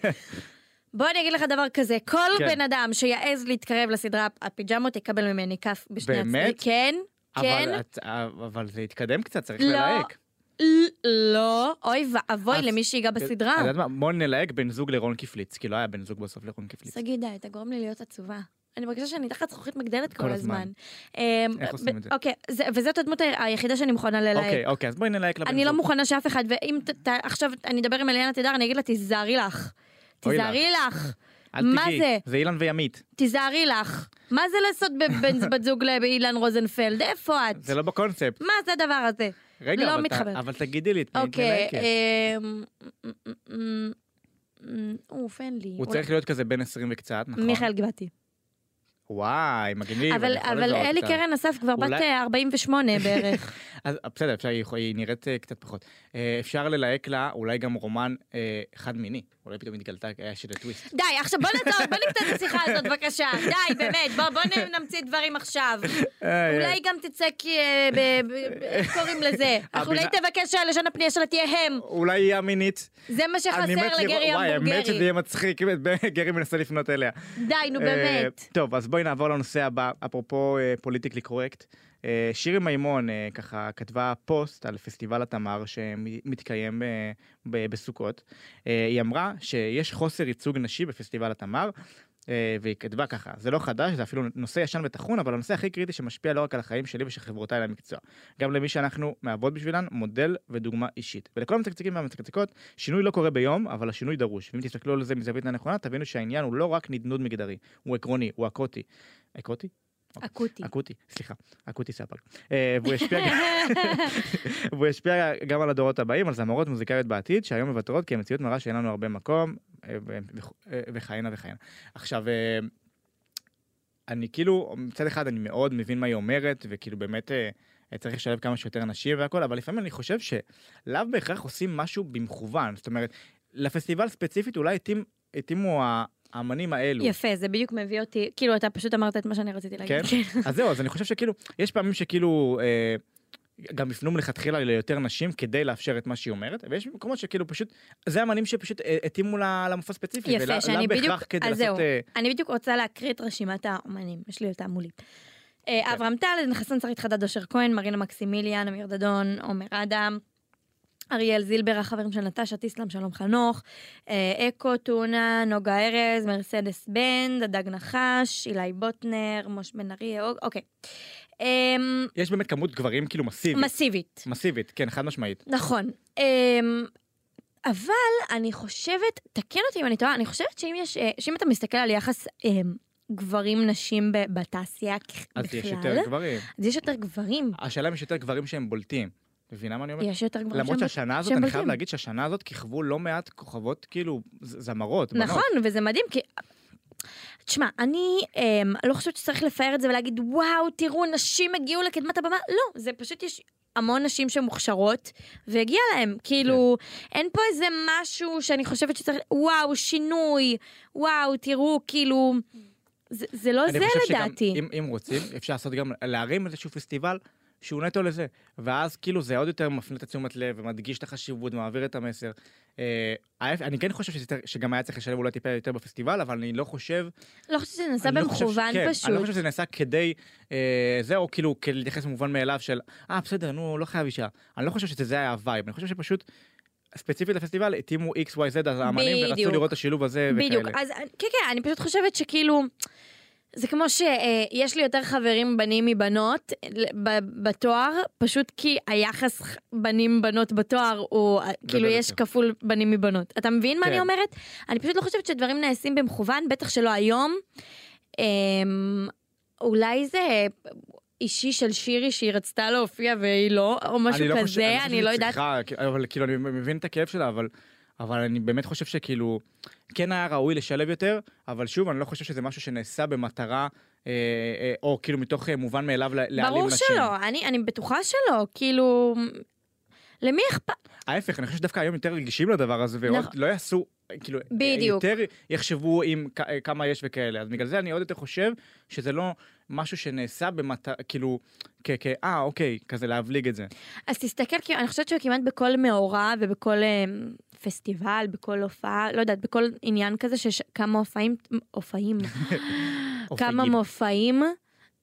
Speaker 2: בוא אני אגיד לך דבר כזה, כל
Speaker 1: כן.
Speaker 2: בן אדם שיעז להתקרב לסדרה הפיג'מות יקבל ממני כף בשני הצדדים.
Speaker 1: באמת?
Speaker 2: כן, כן.
Speaker 1: אבל את- אבל זה התקדם קצת, צריך
Speaker 2: לא.
Speaker 1: ללהק.
Speaker 2: ל- לא, אוי ואבוי
Speaker 1: אז-
Speaker 2: למי שיגע בסדרה.
Speaker 1: את יודעת מה? בוא נלהק בן זוג לרון קפליץ, כי לא היה בן זוג בסוף לרון קפליץ.
Speaker 2: שגיא, די, אתה גורם לי להיות עצובה. אני מרגישה שאני תחת זכוכית מגדלת כל
Speaker 1: כל
Speaker 2: הזמן.
Speaker 1: הזמן.
Speaker 2: אמ,
Speaker 1: איך
Speaker 2: ב-
Speaker 1: עושים את זה?
Speaker 2: אוקיי, זה- וזאת הדמות ה- היחידה שאני מוכנה
Speaker 1: אוקיי,
Speaker 2: ללהק.
Speaker 1: אוקיי, אז בואי נלהק לבן
Speaker 2: אני לא
Speaker 1: זוג.
Speaker 2: מוכנה שאף אחד, ואם ת- ת- עכשיו אני אדבר עם אליאנה תידר, אני אגיד לה, תיזהרי לך.
Speaker 1: אוי לך.
Speaker 2: תיזהרי לך.
Speaker 1: אל
Speaker 2: מה
Speaker 1: תיגעי,
Speaker 2: זה?
Speaker 1: זה אילן וימית.
Speaker 2: תיזהרי לך. מה זה לעשות בבן בת זוג לאילן רוזנפלד? איפה את?
Speaker 1: זה לא לא בקונספט.
Speaker 2: מה זה הדבר הזה?
Speaker 1: רגע,
Speaker 2: לא
Speaker 1: אבל ת-
Speaker 2: מתחברת.
Speaker 1: אבל תגידי לי, את מי את
Speaker 2: אוקיי,
Speaker 1: מלהקת.
Speaker 2: אמ, אמ, אמ, אמ, אמ, אוף, אין לי.
Speaker 1: הוא
Speaker 2: אולי-
Speaker 1: צריך להיות כזה בן 20 וקצת, נכון?
Speaker 2: מיכאל גבעתי.
Speaker 1: וואי, מגניב.
Speaker 2: אבל,
Speaker 1: אני יכול
Speaker 2: אבל
Speaker 1: לזהות
Speaker 2: אלי
Speaker 1: אותה.
Speaker 2: קרן אסף כבר בת
Speaker 1: אולי-
Speaker 2: אה, 48 בערך.
Speaker 1: אז אה, בסדר, אפשר, היא, היא נראית אה, קצת פחות. אה, אפשר ללהק לה אולי גם רומן אה, חד מיני. אולי פתאום התגלתה, היה שזה טוויסט.
Speaker 2: די, עכשיו בוא נעצור, בוא נקטע את השיחה הזאת בבקשה. די, באמת, בוא, בוא נ- נמציא דברים עכשיו. אולי גם תצא כי... אה, ב- ב- ב- איך קוראים לזה? אך אולי
Speaker 1: הבינה-
Speaker 2: תבקש שהלשון הפנייה שלה תהיה הם.
Speaker 1: אולי היא המינית.
Speaker 2: זה מה
Speaker 1: אני מת
Speaker 2: שחסר
Speaker 1: לראות-
Speaker 2: לגרי
Speaker 1: וואי, האמת שזה
Speaker 2: המבורגרי.
Speaker 1: יהיה מצחיק, אם את- גרי מנסה לפנות אליה.
Speaker 2: די, נו
Speaker 1: אה,
Speaker 2: באמת.
Speaker 1: טוב, אז בואי נעבור לנושא הבא, אפרופו אה, פוליטיקלי קורקט. אה, שירי מימון אה, ככה כתבה פוסט על פסטיבל התמר שמתקיים אה, ב- בסוכות. אה, היא אמרה שיש חוסר ייצוג נשי בפסטיבל התמר. אה, והיא כתבה ככה, זה לא חדש, זה אפילו נושא ישן וטחון, אבל הנושא הכי קריטי שמשפיע לא רק על החיים שלי ושל חברותיי למקצוע, גם למי שאנחנו מהוות בשבילן מודל ודוגמה אישית. ולכל המצקצקים והמצקצקות, שינוי לא קורה ביום, אבל השינוי דרוש. ואם תסתכלו על זה מזווית הנכונה, תבינו שהעניין הוא לא רק נדנוד מגדרי, הוא עקרוני, הוא אקוטי. אקוטי? אה,
Speaker 2: אקוטי.
Speaker 1: אקוטי, סליחה, אקוטי ספג. אה, והוא ישפיע גם... והוא ישפיע גם על הדורות הבאים, על זמרות מוזיקאיות בעתיד, שהיום מוותרות כי המציאות מראה שאין לנו הרבה מקום, אה, ו- וכהנה וכהנה. עכשיו, אה, אני כאילו, מצד אחד אני מאוד מבין מה היא אומרת, וכאילו באמת אה, צריך לשלב כמה שיותר נשים והכל, אבל לפעמים אני חושב שלאו בהכרח עושים משהו במכוון. זאת אומרת, לפסטיבל ספציפית אולי התאים- התאימו ה- האמנים האלו.
Speaker 2: יפה, זה בדיוק מביא אותי, כאילו, אתה פשוט אמרת את מה שאני רציתי להגיד.
Speaker 1: כן? אז זהו, אז אני חושב שכאילו, יש פעמים שכאילו, אה, גם הפנו מלכתחילה ליותר נשים כדי לאפשר את מה שהיא אומרת, ויש מקומות שכאילו פשוט, זה אמנים שפשוט אה, התאימו ל- למופע ספציפי,
Speaker 2: יפה,
Speaker 1: ולא-
Speaker 2: שאני
Speaker 1: לאו
Speaker 2: בדיוק-
Speaker 1: בהכרח כדי
Speaker 2: אז
Speaker 1: לעשות...
Speaker 2: זהו.
Speaker 1: אה,
Speaker 2: אני בדיוק רוצה להקריא את רשימת האומנים, יש לי אותה מולי. אה,
Speaker 1: כן.
Speaker 2: אברהם טל, עדן חסון, שרית חדד, אושר כהן, מרינה מקסימיליאן, אמיר דדון, עומר אדם, אריאל זילבר, החברים של נטשה, טיסלאם, שלום חנוך, אה, אקו, טונה, נוגה ארז, מרסדס בן, דדג נחש, אילי בוטנר, מוש בן אריה, אוג- אוקיי. אה,
Speaker 1: יש באמת כמות גברים כאילו מסיבית.
Speaker 2: מסיבית.
Speaker 1: מסיבית, כן, חד משמעית.
Speaker 2: נכון. אמ, אבל אני חושבת, תקן אותי אם אני טועה, אני חושבת שאם יש, אה, שאם אתה מסתכל על יחס אמ, גברים-נשים ב- בתעשייה כ- בכלל,
Speaker 1: אז יש יותר גברים.
Speaker 2: אז יש יותר גברים.
Speaker 1: השאלה אם יש יותר גברים שהם בולטים. מבינה מה אני אומר?
Speaker 2: יש יותר גברים.
Speaker 1: אה, למרות
Speaker 2: שהם-
Speaker 1: שהשנה הזאת,
Speaker 2: שהם
Speaker 1: אני
Speaker 2: בולטים.
Speaker 1: חייב להגיד שהשנה הזאת כיכבו לא מעט כוכבות כאילו ז- זמרות, בנות.
Speaker 2: נכון, וזה מדהים, כי... תשמע, אני אמ, לא חושבת שצריך לפאר את זה ולהגיד, וואו, תראו, נשים הגיעו לקדמת הבמה. לא, זה פשוט יש המון נשים שמוכשרות, והגיע להם. כאילו,
Speaker 1: כן.
Speaker 2: אין פה איזה משהו שאני חושבת שצריך, וואו, שינוי, וואו, תראו, כאילו... זה, זה לא זה
Speaker 1: אני חושב שגם
Speaker 2: לדעתי.
Speaker 1: אם- אם רוצים, אפשר לעשות גם, להרים איזשהו פסטיבל שהוא נטו לזה. ואז כאילו זה עוד יותר מפנה את התשומת לב ומדגיש את החשיבות, מעביר את המסר. אה, ההפ- אני כן חושב שזה יותר- שגם היה צריך לשלב אולי טיפה יותר בפסטיבל, אבל אני לא חושב...
Speaker 2: לא חושבת שזה נעשה
Speaker 1: אני לא חושב ש-
Speaker 2: במכוון
Speaker 1: כן,
Speaker 2: פשוט.
Speaker 1: אני לא חושב שזה נעשה כדי... אה, זה או כאילו כדי להתייחס במובן מאליו של, אה, בסדר, נו, לא חייב אישה. אני לא חושב שזה היה הווייב, אני חושב שפשוט... ספציפית לפסטיבל התאימו XYZ אז האמנים ורצו
Speaker 2: בדיוק.
Speaker 1: לראות את השילוב הזה וכאלה.
Speaker 2: בדיוק, אז כן, כן, אני פשוט חושבת שכאילו, זה כמו שיש לי יותר חברים בנים מבנות ל- ב- בתואר, פשוט כי היחס ח- בנים-בנות בתואר הוא, אה, כאילו
Speaker 1: גדול
Speaker 2: יש
Speaker 1: יותר.
Speaker 2: כפול בנים מבנות. אתה מבין מה
Speaker 1: כן.
Speaker 2: אני אומרת? אני פשוט לא חושבת שדברים נעשים במכוון, בטח שלא היום. אמ, אולי זה... אישי של שירי שהיא רצתה להופיע והיא לא, או משהו
Speaker 1: אני לא חושב-
Speaker 2: כזה,
Speaker 1: חושב
Speaker 2: אני
Speaker 1: שהיא
Speaker 2: לא יודעת.
Speaker 1: צריכה, כי- אבל כאילו, אני מבין את הכאב שלה, אבל... אבל אני באמת חושב שכאילו, כן היה ראוי לשלב יותר, אבל שוב, אני לא חושב שזה משהו שנעשה במטרה, אה, אה, או כאילו מתוך אה, מובן מאליו לה- להעלים
Speaker 2: ברור
Speaker 1: נשים.
Speaker 2: שלא, אני אני בטוחה שלא, כאילו... למי אכפת?
Speaker 1: ההפך, אני חושב שדווקא היום יותר רגישים לדבר הזה, ועוד
Speaker 2: נכון.
Speaker 1: לא יעשו, אה, כאילו, אה,
Speaker 2: בדיוק.
Speaker 1: יותר יחשבו עם כ- אה, כמה יש וכאלה. אז בגלל זה אני עוד יותר חושב שזה לא משהו שנעשה במטרה, כאילו, כ... כ- אה, אוקיי, כזה להבליג את זה.
Speaker 2: אז תסתכל, כי אני חושבת שכמעט בכל מאורע ובכל אמ, פסטיבל, בכל הופעה, לא יודעת, בכל עניין כזה שיש כמה הופעים, הופעים, כמה
Speaker 1: אופייגים.
Speaker 2: מופעים,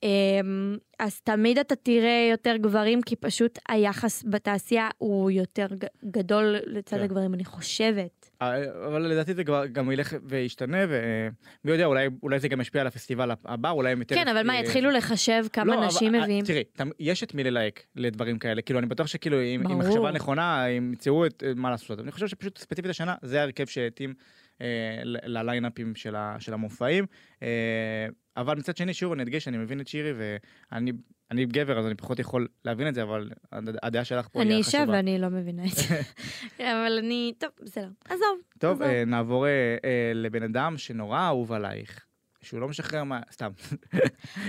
Speaker 2: אמ, אז תמיד אתה תראה יותר גברים, כי פשוט היחס בתעשייה הוא יותר ג- גדול לצד
Speaker 1: כן.
Speaker 2: הגברים, אני חושבת.
Speaker 1: אה, אבל לדעתי זה כבר גם ילך וישתנה, ומי יודע, אולי, אולי זה גם ישפיע על הפסטיבל הבא, אולי הם יותר...
Speaker 2: כן, אבל מה,
Speaker 1: אה,
Speaker 2: יתחילו לחשב
Speaker 1: לא,
Speaker 2: כמה
Speaker 1: אבל-
Speaker 2: נשים
Speaker 1: אה,
Speaker 2: מביאים?
Speaker 1: תראי, תמ- יש את מי ללהק לדברים כאלה, כאילו, אני בטוח שכאילו, עם עם
Speaker 2: ברור.
Speaker 1: מחשבה נכונה, הם ימצאו את אה, מה לעשות. אני חושב שפשוט ספציפית השנה, זה ההרכב שהתאים אה, ל- לליינאפים של ה- של המופעים. אה, אבל מצד שני, שוב, אני אדגיש, אני מבין את שירי, ואני אני גבר, אז אני פחות יכול להבין את זה, אבל הד- הדעה שלך פה
Speaker 2: אני
Speaker 1: היא
Speaker 2: אישה
Speaker 1: החשובה.
Speaker 2: ואני לא מבינה את זה. כן, אבל אני, טוב, בסדר, עזוב.
Speaker 1: טוב,
Speaker 2: עזוב.
Speaker 1: אה, נעבור אה, אה, לבן אדם שנורא אהוב עלייך, שהוא לא משחרר מה... סתם.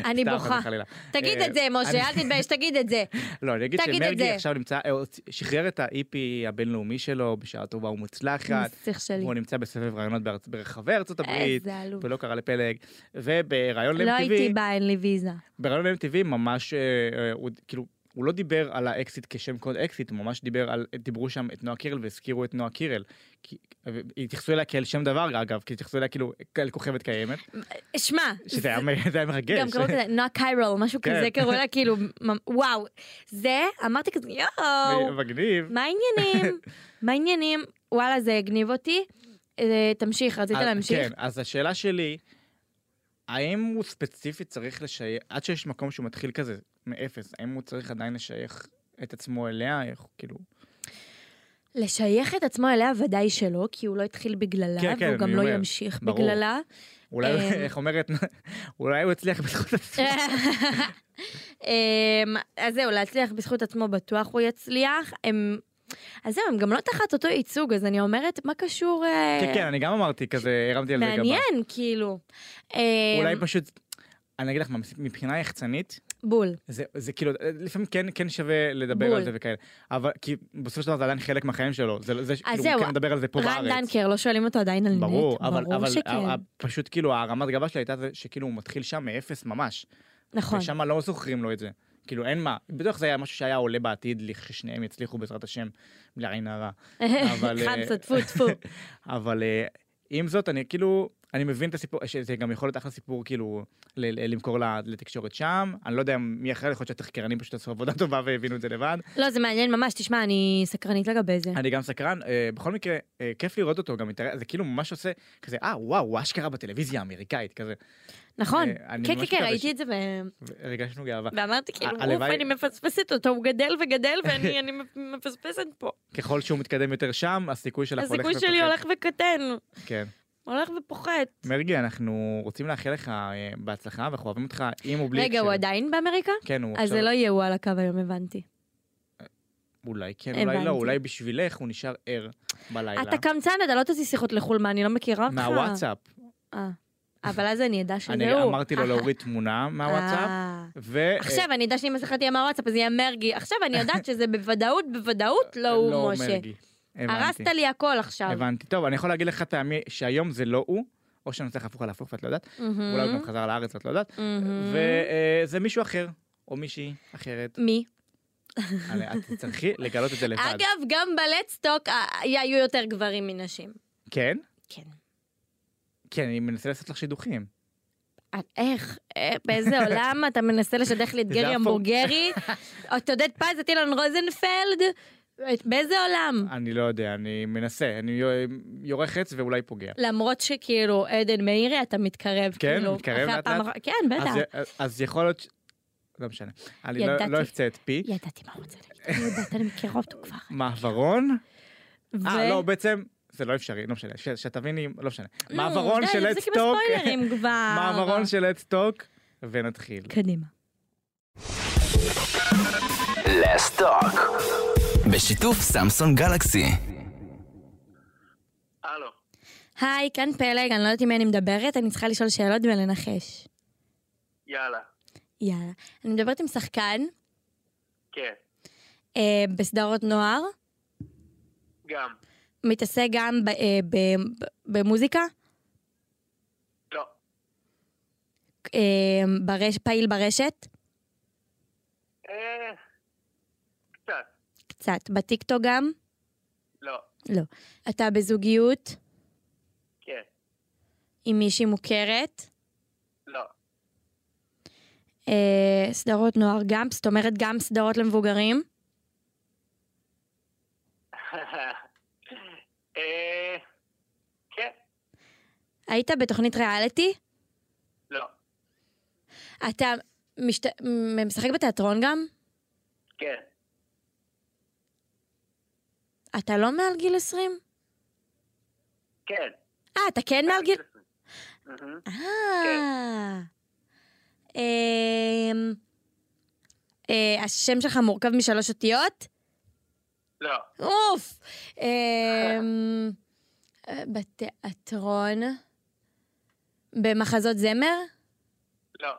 Speaker 2: אני
Speaker 1: סתם,
Speaker 2: בוכה.
Speaker 1: חס וחלילה.
Speaker 2: תגיד
Speaker 1: אה,
Speaker 2: את זה, משה,
Speaker 1: אני-
Speaker 2: אל תתבייש, תגיד את זה.
Speaker 1: לא, אני אגיד
Speaker 2: תגיד את
Speaker 1: שמרגי
Speaker 2: זה.
Speaker 1: עכשיו נמצא, אה, הוצ- שחרר את ה-EP הבינלאומי שלו בשעה טובה ומוצלחת,
Speaker 2: נסיך שלי.
Speaker 1: הוא נמצא בסבב רעיונות בארצ- ברחבי ארצות הברית,
Speaker 2: איזה עלוב.
Speaker 1: ולא קרא לפלג, ובראיון
Speaker 2: לא הייתי
Speaker 1: ל-MTV,
Speaker 2: באה, אין לי ויזה.
Speaker 1: בראיון ל-MTV ממש, אה, אה, הוא כאילו... הוא לא דיבר על האקסיט כשם קוד אקסיט, הוא ממש דיבר על, דיברו שם את נועה קירל והזכירו את נועה קירל. כי- אה, התייחסו אליה כאל שם דבר אגב, כי התייחסו אליה כאילו כאל כוכבת קיימת,
Speaker 2: שמע,
Speaker 1: שזה היה מ- זה היה מרגש.
Speaker 2: גם קראו לזה נועה קיירל, משהו
Speaker 1: כן.
Speaker 2: כזה קראו לה, כאילו, מ- וואו. זה, אמרתי כזה, יואו,
Speaker 1: מגניב.
Speaker 2: מה העניינים? מה העניינים? וואלה, זה הגניב אותי. אה, תמשיך, רצית
Speaker 1: אז-
Speaker 2: להמשיך?
Speaker 1: כן, אז השאלה שלי, האם הוא ספציפית צריך לשייך, עד שיש מקום שהוא מתחיל כזה מאפס, האם הוא צריך עדיין לשייך את עצמו אליה, איך, כאילו...
Speaker 2: לשייך את עצמו אליה ודאי שלא, כי הוא לא התחיל בגללה,
Speaker 1: כן, כן,
Speaker 2: והוא גם
Speaker 1: אני
Speaker 2: לא
Speaker 1: אומר,
Speaker 2: ימשיך
Speaker 1: ברור.
Speaker 2: בגללה.
Speaker 1: אולי,
Speaker 2: אמ.
Speaker 1: איך אומרת, אולי הוא הצליח בזכות עצמו.
Speaker 2: אה. אמ, אז זהו, להצליח בזכות עצמו בטוח הוא יצליח. הם- אז זהו, הם גם לא תחת אותו ייצוג, אז אני אומרת, מה קשור... אה,
Speaker 1: כן, כן, אני גם אמרתי כזה, הרמתי על זה גבה.
Speaker 2: מעניין, כאילו. אמ,
Speaker 1: אולי פשוט... אני אגיד לך מה, מבחינה יחצנית,
Speaker 2: בול.
Speaker 1: זה, זה כאילו, לפעמים כן, כן שווה לדבר
Speaker 2: בול.
Speaker 1: על זה וכאלה. אבל כי בסופו של דבר זה עדיין חלק מהחיים שלו. זה, זה כאילו,
Speaker 2: זהו,
Speaker 1: הוא כן מדבר על זה פה בארץ.
Speaker 2: רן דנקר, לא שואלים אותו עדיין על נט.
Speaker 1: ברור, אבל,
Speaker 2: ברור
Speaker 1: אבל
Speaker 2: שכן.
Speaker 1: ה- ה- פשוט כאילו הרמת גבה שלה הייתה זה שכאילו הוא מתחיל שם מאפס ממש.
Speaker 2: נכון.
Speaker 1: ושם לא זוכרים לו את זה. כאילו אין מה, בטוח זה היה משהו שהיה עולה בעתיד לכששניהם יצליחו בעזרת השם, בלי עין הרע. אבל, אה,
Speaker 2: חמסה, טפו, טפו.
Speaker 1: אבל אה, עם זאת, אני כאילו, אני מבין את הסיפור, שזה גם יכול להיות אחלה סיפור, כאילו, ל- ל- למכור ל- לתקשורת שם. אני לא יודע מי אחר, יכול להיות שהתחקרנים פשוט עשו עבודה טובה והבינו את זה לבד.
Speaker 2: לא, זה מעניין ממש, תשמע, אני סקרנית לגבי זה.
Speaker 1: אני גם סקרן, אה, בכל מקרה, אה, כיף לראות אותו, גם מתאר- זה כאילו ממש עושה, כזה, אה, וואו, הוא אשכרה בטלוויזיה האמריקאית, כזה.
Speaker 2: נכון.
Speaker 1: אה, אני
Speaker 2: כן, כן,
Speaker 1: ממש
Speaker 2: כן,
Speaker 1: מקווה ש-
Speaker 2: ראיתי את זה ו-
Speaker 1: הרגשנו גאווה.
Speaker 2: ואמרתי, כאילו,
Speaker 1: הלוואי-
Speaker 2: אוף, אני מפספסת אותו, הוא גדל וגדל ואני אני מפספסת פה.
Speaker 1: ככל שהוא מתקדם יותר שם, הסיכוי שלך הולך
Speaker 2: הסיכוי שלי
Speaker 1: ופוחת.
Speaker 2: הולך וקטן,
Speaker 1: כן.
Speaker 2: הולך ופוחת.
Speaker 1: מרגי, אנחנו רוצים לאחל לך אה, בהצלחה, ואנחנו אוהבים אותך עם ובלי...
Speaker 2: רגע,
Speaker 1: הקשר.
Speaker 2: הוא עדיין באמריקה?
Speaker 1: כן, הוא
Speaker 2: אז
Speaker 1: עכשיו...
Speaker 2: זה לא יהיה הוא על הקו היום, הבנתי.
Speaker 1: אולי כן, אולי
Speaker 2: הבנתי.
Speaker 1: לא, אולי בשבילך הוא נשאר ער בלילה.
Speaker 2: אתה קמצן, אתה לא תוציא שיחות לחו"ל, מה, אני לא מכירה אותך.
Speaker 1: מהוואטסאפ.
Speaker 2: אה. אבל אז אני אדע שזה
Speaker 1: אני
Speaker 2: הוא.
Speaker 1: אמרתי לו להוריד תמונה מהוואטסאפ,
Speaker 2: לא- אה.
Speaker 1: ו...
Speaker 2: עכשיו אני אדע שאם מסכה תהיה מהוואטסאפ, אז יהיה מרגי. עכשיו אני יודעת שזה בוודאות, בוודאות לא
Speaker 1: אה,
Speaker 2: הוא, משה.
Speaker 1: מרגי. הבנתי.
Speaker 2: הרסת לי הכל עכשיו.
Speaker 1: הבנתי. טוב, אני יכול להגיד לך טעמי שהיום זה לא הוא, או שאני צריך הפוך על הפוך ואת לא יודעת,
Speaker 2: מהמם,
Speaker 1: אולי הוא גם חזר לארץ ואת לא
Speaker 2: Mm.
Speaker 1: יודעת,
Speaker 2: מהמם.
Speaker 1: וזה מישהו אחר, או מישהי אחרת.
Speaker 2: מי?
Speaker 1: אני- את תצטרכי לגלות את זה לבד.
Speaker 2: אגב, גם בלדסטוק אה, היו יותר גברים מנשים.
Speaker 1: כן?
Speaker 2: כן.
Speaker 1: כן, אני מנסה לעשות לך שידוכים.
Speaker 2: אה, איך? אה, באיזה עולם אתה מנסה לשדך לי את
Speaker 1: זה
Speaker 2: גרי
Speaker 1: הפוך.
Speaker 2: המבורגרי? את עודד פז, את אילן רוזנפלד? את- באיזה עולם?
Speaker 1: אני לא יודע, אני מנסה, אני יו- יורה חץ ואולי פוגע.
Speaker 2: למרות שכאילו, עדן מאירי, אתה מתקרב.
Speaker 1: כן,
Speaker 2: כאילו,
Speaker 1: מתקרב
Speaker 2: אחרי
Speaker 1: לאט
Speaker 2: הפעם
Speaker 1: לאט.
Speaker 2: האח- כן, בטח.
Speaker 1: אז- אז- אז יכול להיות... ש- לא משנה. אני לא-
Speaker 2: ידעתי.
Speaker 1: לא אפצה את פי.
Speaker 2: ידעתי מה הוא רוצה להגיד, אני יודעת, אני מכירה אותו כבר.
Speaker 1: מעברון? אה,
Speaker 2: ו-
Speaker 1: לא, בעצם... זה לא אפשרי, לא משנה, ש- שתביני, לא משנה.
Speaker 2: נו,
Speaker 1: מעברון
Speaker 2: די, כאילו
Speaker 1: של
Speaker 2: תפסיק עם
Speaker 1: אדסטוק,
Speaker 2: הספוילרים כבר.
Speaker 1: מעברון של אדסטוק, ונתחיל.
Speaker 2: קדימה.
Speaker 3: לסטוק. בשיתוף סמסון גלקסי.
Speaker 4: הלו,
Speaker 2: היי, כאן פלג, אני לא יודעת עם מי אני מדברת, אני צריכה לשאול שאלות ולנחש.
Speaker 4: יאללה,
Speaker 2: יאללה. אני מדברת עם שחקן
Speaker 4: כן,
Speaker 2: אה, בסדרות נוער,
Speaker 4: גם,
Speaker 2: מתעסק גם ב- אה, ב- ב- במוזיקה,
Speaker 4: לא,
Speaker 2: אה, ברש- פעיל ברשת,
Speaker 4: אה, קצת,
Speaker 2: קצת, בטיקטוק גם.
Speaker 4: לא,
Speaker 2: אתה בזוגיות
Speaker 4: כן,
Speaker 2: עם מישהי מוכרת.
Speaker 4: לא,
Speaker 2: אה, סדרות נוער גם, זאת אומרת גם סדרות למבוגרים.
Speaker 4: אה, כן,
Speaker 2: היית בתוכנית ריאליטי?
Speaker 4: לא,
Speaker 2: אתה משת... מ- משחק בתיאטרון גם?
Speaker 4: כן,
Speaker 2: אתה לא מעל גיל 20?
Speaker 4: כן.
Speaker 2: אה, אתה כן מעל גיל...
Speaker 4: מהגיל?
Speaker 2: אה... אמ, אה, השם שלך מורכב משלוש אותיות?
Speaker 4: לא,
Speaker 2: אוף! אמ, אה, בתיאטרון? במחזות זמר?
Speaker 4: לא,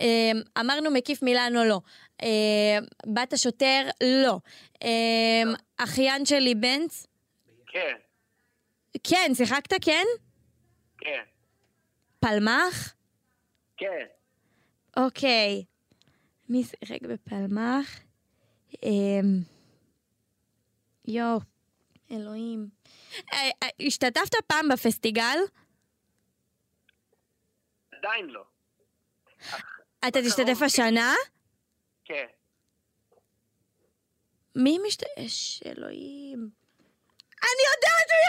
Speaker 2: אמ, אמרנו מקיף מילאנו לא. אמ, בת השוטר לא. אמ, אחיין שלי בנץ?
Speaker 4: כן,
Speaker 2: כן, שיחקת כן?
Speaker 4: כן,
Speaker 2: פלמח?
Speaker 4: כן,
Speaker 2: אוקיי. מי שיחק בפלמח? אמ... יואו, אלוהים. אה, אה, השתתפת פעם בפסטיגל?
Speaker 4: עדיין לא,
Speaker 2: אתה תשתתף השנה?
Speaker 4: כן,
Speaker 2: מי משתתף? אלוהים. אני יודעת מי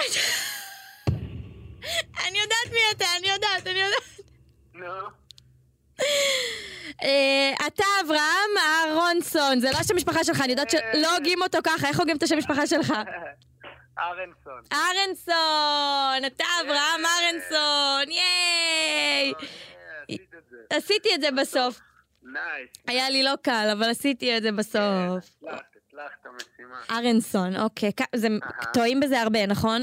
Speaker 2: אתה! אני יודעת מי אתה, אני יודעת, אני יודעת.
Speaker 4: נו,
Speaker 2: אה, אתה אברהם אהרונסון, זה לא השם משפחה שלך, אני יודעת שלא הוגים אותו ככה, איך הוגים את השם משפחה שלך?
Speaker 4: אהרנסון,
Speaker 2: אהרנסון, אתה אברהם אהרנסון, ייי!
Speaker 4: אה, עשית את זה,
Speaker 2: עשיתי את זה בסוף.
Speaker 4: נייס, כן,
Speaker 2: היה לי לא קל, אבל עשיתי את זה בסוף. אה,
Speaker 4: הצלחת, הצלחת משימה,
Speaker 2: אהרנסון, אוקיי. כ- זה- טועים בזה הרבה, נכון?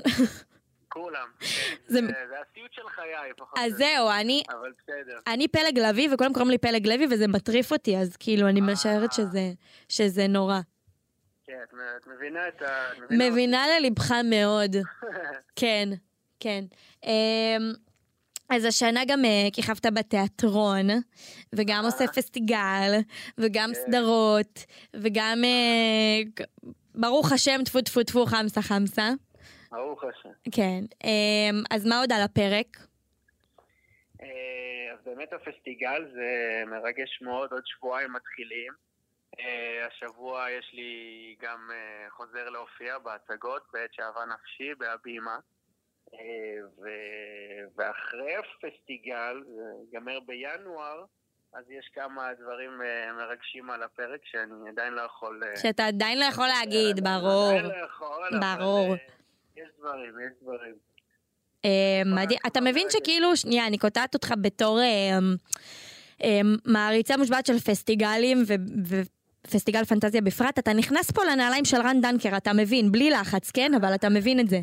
Speaker 4: כולם. כן.
Speaker 2: זה-
Speaker 4: זה זה הסיוט של חיי, פחות או
Speaker 2: אז
Speaker 4: יותר.
Speaker 2: זהו, אני,
Speaker 4: אבל בסדר.
Speaker 2: אני פלג לביא, וכולם קוראים לי פלג לוי, וזה מטריף אותי, אז כאילו, אני משערת שזה, שזה נורא.
Speaker 4: כן, את מ- את מבינה את ה... את מבינה
Speaker 2: מבינה ללבך מאוד. כן, כן. אמ, אז השנה גם אה, כיכבת בתיאטרון, וגם עושה פסטיגל, וגם סדרות, וגם... אה, ג- ברוך השם, טפו טפו טפו, חמסה חמסה.
Speaker 4: אותי. ברוך השם.
Speaker 2: כן. אמ, אז מה עוד על הפרק?
Speaker 4: אה, אז באמת הפסטיגל זה מרגש מאוד, עוד שבועיים מתחילים. אה, השבוע יש לי גם אה, חוזר להופיע בהצגות בעת שאהבה נפשי בהבימה. אה, ו- ואחרי הפסטיגל, זה ייגמר בינואר, אז יש כמה דברים אה, מרגשים על הפרק שאני עדיין לא יכול... אה,
Speaker 2: שאתה עדיין לא יכול להגיד,
Speaker 4: אה,
Speaker 2: ברור.
Speaker 4: עדיין לא יכול, אבל,
Speaker 2: ברור.
Speaker 4: אה, יש דברים, יש דברים.
Speaker 2: אה, מדהים. אתה מבין שכאילו, שנייה, אני קוטעת אותך בתור אה, אה, מעריצה מושבעת של פסטיגלים ו- ופסטיגל פנטזיה בפרט, אתה נכנס פה לנעליים של רן דנקר, אתה מבין, בלי לחץ, כן? אבל אתה מבין את זה.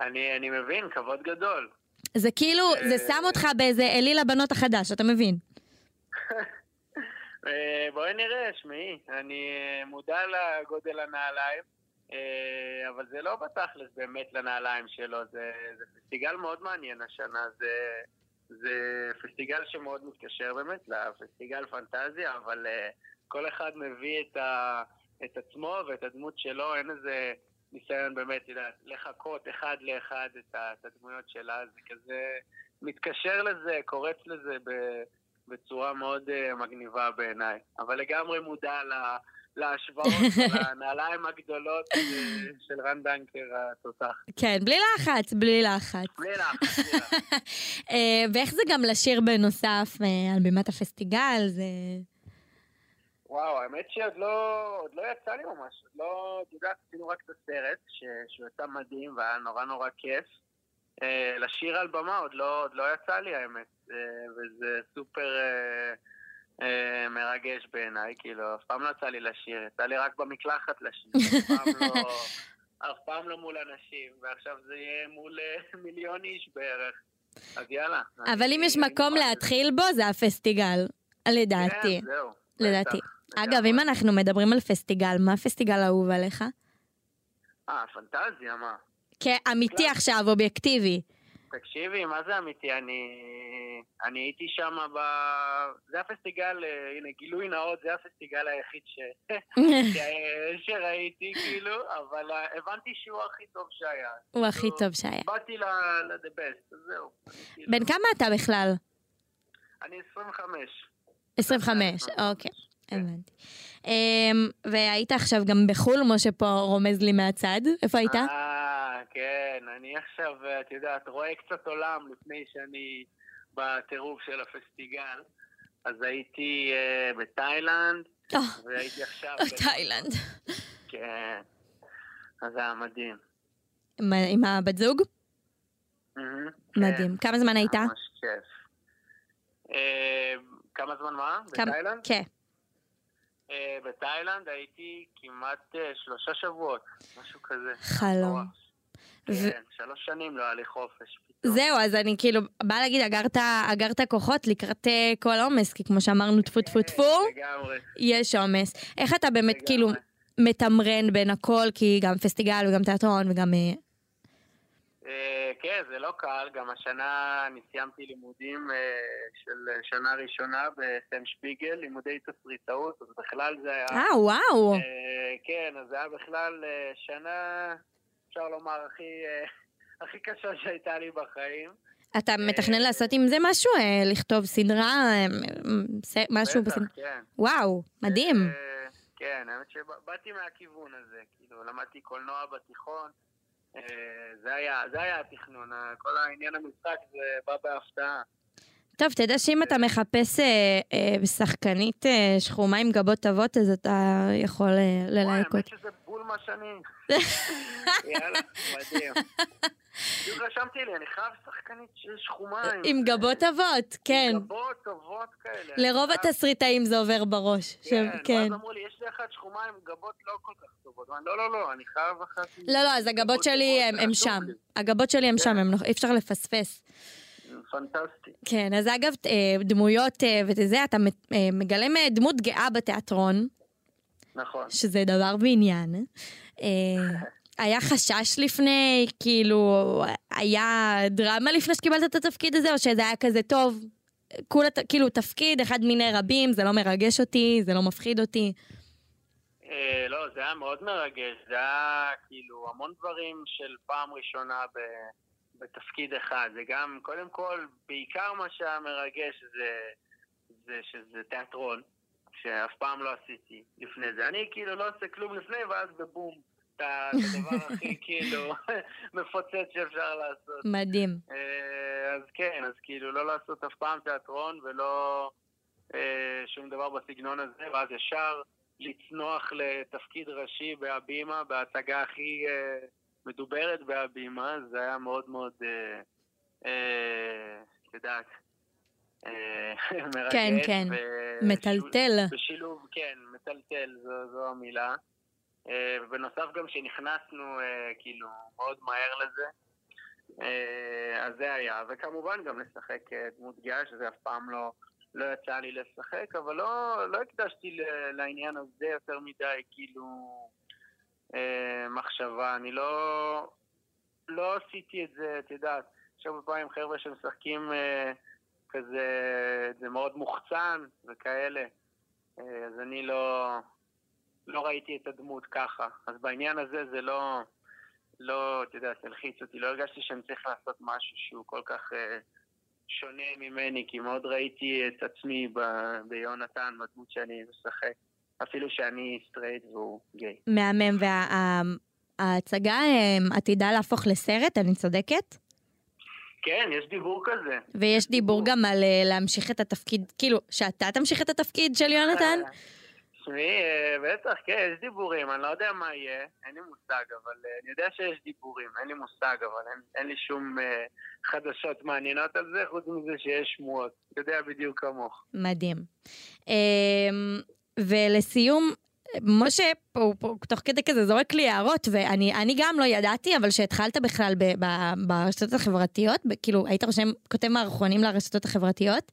Speaker 4: אני אני מבין, כבוד גדול.
Speaker 2: זה כאילו, זה שם אותך באיזה אליל הבנות החדש, אתה מבין?
Speaker 4: אה, בואי נראה, שמעי, אני אה, מודע לגודל הנעליים, אה, אבל זה לא בתכלס באמת לנעליים שלו, זה, זה פסטיגל מאוד מעניין השנה, זה, זה פסטיגל שמאוד מתקשר באמת לפסטיגל פנטזיה, אבל אה, כל אחד מביא את, ה, את עצמו ואת הדמות שלו, אין איזה ניסיון באמת, את יודעת, לחקות אחד לאחד את, ה, את הדמויות שלה, זה כזה מתקשר לזה, קורץ לזה ב... בצורה מאוד uh, מגניבה בעיניי, אבל לגמרי מודע לה, להשוואות, לנעליים הגדולות אה, של רן דנקר התותח.
Speaker 2: כן, בלי לחץ, בלי לחץ.
Speaker 4: בלי לחץ, בלי לחץ.
Speaker 2: אה, ואיך זה גם לשיר בנוסף אה, על בימת הפסטיגל, זה...
Speaker 4: וואו, האמת שעוד לא, עוד לא יצא לי ממש, עוד לא, את יודעת, עשינו רק את הסרט, ש, שהוא יצא מדהים והיה נורא נורא כיף. אה, לשיר על במה עוד לא, עוד לא יצא לי האמת, אה, וזה סופר אה, אה, מרגש בעיניי, כאילו, אף פעם לא יצא לי לשיר, יצא לי רק במקלחת לשיר, אף פעם לא, אף פעם לא מול אנשים, ועכשיו זה יהיה מול אה, מיליון איש בערך. אז יאללה.
Speaker 2: אבל
Speaker 4: אני-
Speaker 2: אם יש
Speaker 4: אני
Speaker 2: מקום
Speaker 4: מוכן.
Speaker 2: להתחיל בו, זה הפסטיגל, לדעתי.
Speaker 4: כן, זהו.
Speaker 2: לדעתי.
Speaker 4: בטח,
Speaker 2: אגב,
Speaker 4: לגמרי.
Speaker 2: אם אנחנו מדברים על פסטיגל, מה הפסטיגל האהוב עליך?
Speaker 4: אה, פנטזיה, מה?
Speaker 2: כאמיתי עכשיו, אובייקטיבי.
Speaker 4: תקשיבי, מה זה אמיתי? אני, אני הייתי שם ב... זה הפסטיגל, אה, הנה, גילוי נאות, זה הפסטיגל היחיד ש... ש- שראיתי, כאילו, אבל אה, הבנתי שהוא הכי טוב שהיה.
Speaker 2: הוא הכי טוב שהיה.
Speaker 4: באתי ל... ל-the best, אז זהו. אני כאילו-
Speaker 2: בן כמה אתה בכלל?
Speaker 4: אני אה, 25.
Speaker 2: 25, אוקיי, הבנתי. אמ, והיית עכשיו גם בחו"ל, משה פה רומז לי מהצד. איפה היית?
Speaker 4: אה, כן, אני עכשיו, אה, את יודעת, רואה קצת עולם לפני שאני בטירוף של הפסטיגל. אז הייתי אה, בתאילנד,
Speaker 2: אה,
Speaker 4: והייתי עכשיו...
Speaker 2: אה, תאילנד.
Speaker 4: כן. אז זה היה מדהים.
Speaker 2: עם ה- עם הבת זוג?
Speaker 4: מהמם.
Speaker 2: מדהים. כמה זמן היית?
Speaker 4: כן, ממש כיף. אה, כמה זמן מה?
Speaker 2: כמה-
Speaker 4: בתאילנד?
Speaker 2: כן.
Speaker 4: אה, בתאילנד הייתי כמעט אה, שלושה שבועות, משהו כזה.
Speaker 2: חלום. ו-
Speaker 4: כן, שלוש שנים לא היה לי חופש. פתאום. אה,
Speaker 2: זהו, אז אני כאילו באה להגיד, אגרת, אגרת כוחות לקראת אה, כל עומס, כי כמו שאמרנו, טפו טפו טפו.
Speaker 4: לגמרי.
Speaker 2: יש עומס. איך אתה באמת
Speaker 4: לגמרי.
Speaker 2: כאילו מתמרן בין הכל, כי גם פסטיגל וגם תיאטרון וגם... אה,
Speaker 4: אה, כן, זה לא קל, גם השנה אני סיימתי לימודים אה, של שנה ראשונה בסם שפיגל, לימודי תסריטאות, אז בכלל זה היה...
Speaker 2: אה, וואו.
Speaker 4: אה, כן, אז זה היה בכלל אה, שנה, אפשר לומר, הכי, אה, הכי קשה שהייתה לי בחיים. אה,
Speaker 2: אתה מתכנן לעשות עם זה משהו? אה, לכתוב סדרה? אה, ס- משהו
Speaker 4: בטח,
Speaker 2: בסדרה?
Speaker 4: כן.
Speaker 2: וואו, מדהים.
Speaker 4: אה, כן, האמת שבאתי מהכיוון הזה, כאילו, למדתי קולנוע בתיכון, אה, זה היה, זה היה התכנון, ה- כל העניין המשחק זה בא בהפתעה.
Speaker 2: טוב, תדע שאם אתה מחפש אה, אה, שחקנית אה, שחומה עם גבות עבות, אז אתה יכול אה,
Speaker 4: וואי,
Speaker 2: ללהק
Speaker 4: האמת
Speaker 2: אותה.
Speaker 4: שזה בול מה שאני. יאללה, מדהים. בדיוק רשמתי לי, אני חייב שחקנית שיש חומה.
Speaker 2: עם גבות עבות, כן.
Speaker 4: עם גבות טובות כאלה. אני
Speaker 2: לרוב
Speaker 4: חייב-
Speaker 2: התסריטאים זה עובר בראש. ש-
Speaker 4: אה. כן,
Speaker 2: כן.
Speaker 4: ואז אמרו לי, יש לך אחת שחומה עם גבות לא כל כך טובות. אמרתי, לא, לא, לא, אני חייב אחת... עם
Speaker 2: לא, לא, אז הגבות
Speaker 4: גבות
Speaker 2: שלי
Speaker 4: טובות,
Speaker 2: הם
Speaker 4: זה
Speaker 2: הם
Speaker 4: חשוב
Speaker 2: שם.
Speaker 4: לי. כן.
Speaker 2: הגבות שלי הם שם, הם נוח- אי אפשר לפספס.
Speaker 4: פנטסטי.
Speaker 2: כן, אז אגב, אה, דמויות אה, וזה, אתה מ- אה, מגלם אה, דמות גאה בתיאטרון,
Speaker 4: נכון.
Speaker 2: שזה דבר בעניין. אה, היה חשש לפני, כאילו, היה דרמה לפני שקיבלת את התפקיד הזה, או שזה היה כזה טוב? כולה, ת- כאילו, תפקיד, אחד מיני רבים, זה לא מרגש אותי, זה לא מפחיד אותי.
Speaker 4: אה, לא, זה היה מאוד מרגש, זה היה כאילו המון דברים של פעם ראשונה ב, בתפקיד אחד. זה גם, קודם כל, בעיקר מה שהיה מרגש זה, זה שזה תיאטרון, שאף פעם לא עשיתי לפני זה. אני כאילו לא עושה כלום לפני, ואז בבום, אתה זה הדבר הכי כאילו מפוצץ שאפשר לעשות.
Speaker 2: מדהים.
Speaker 4: אה, אז כן, אז כאילו לא לעשות אף פעם תיאטרון ולא אה, שום דבר בסגנון הזה, ואז ישר לצנוח לתפקיד ראשי בהבימה, בהצגה הכי אה, מדוברת בהבימה, זה היה מאוד מאוד, אה, אה, את יודעת, אה, מרגש.
Speaker 2: כן, כן.
Speaker 4: ו-
Speaker 2: מטלטל.
Speaker 4: בשילוב, כן, מטלטל, זו, זו המילה. אה, ובנוסף גם שנכנסנו אה, כאילו מאוד מהר לזה, אה, אז זה היה. וכמובן גם לשחק אה, דמות גאה, שזה אף פעם לא, לא יצא לי לשחק, אבל לא, לא הקדשתי ל- לעניין הזה יותר מדי, כאילו, אה, מחשבה. אני לא, לא עשיתי את זה, את יודעת, יש הרבה פעמים חבר'ה שמשחקים אה, כזה, זה מאוד מוחצן וכאלה. אה, אז אני לא, לא ראיתי את הדמות ככה. אז בעניין הזה זה לא, לא, אתה יודע, תלחיץ אותי. לא הרגשתי שאני צריך לעשות משהו שהוא כל כך אה, שונה ממני, כי מאוד ראיתי את עצמי ב, ביונתן, בדמות שאני משחק. אפילו שאני סטרייט והוא גיי.
Speaker 2: מהמם, וההצגה אה, עתידה להפוך לסרט, אני צודקת?
Speaker 4: כן, יש דיבור כזה.
Speaker 2: ויש דיבור גם על אה, להמשיך את התפקיד, כאילו, שאתה תמשיך את התפקיד של יונתן?
Speaker 4: תשמעי, אה, בטח, כן, יש דיבורים, אני לא יודע מה יהיה, אין לי מושג, אבל אה, אני יודע שיש דיבורים, אין לי מושג, אבל אין, אין לי שום אה, חדשות מעניינות על זה, חוץ מזה שיש שמועות, אתה יודע בדיוק כמוך.
Speaker 2: מדהים. אמ, ולסיום, משה, פה, הוא פה, תוך כדי כזה זורק לי הערות, ואני אני גם לא ידעתי, אבל שהתחלת בכלל ב, ב, ברשתות החברתיות, ב, כאילו, היית רושם, כותב מערכונים לרשתות החברתיות.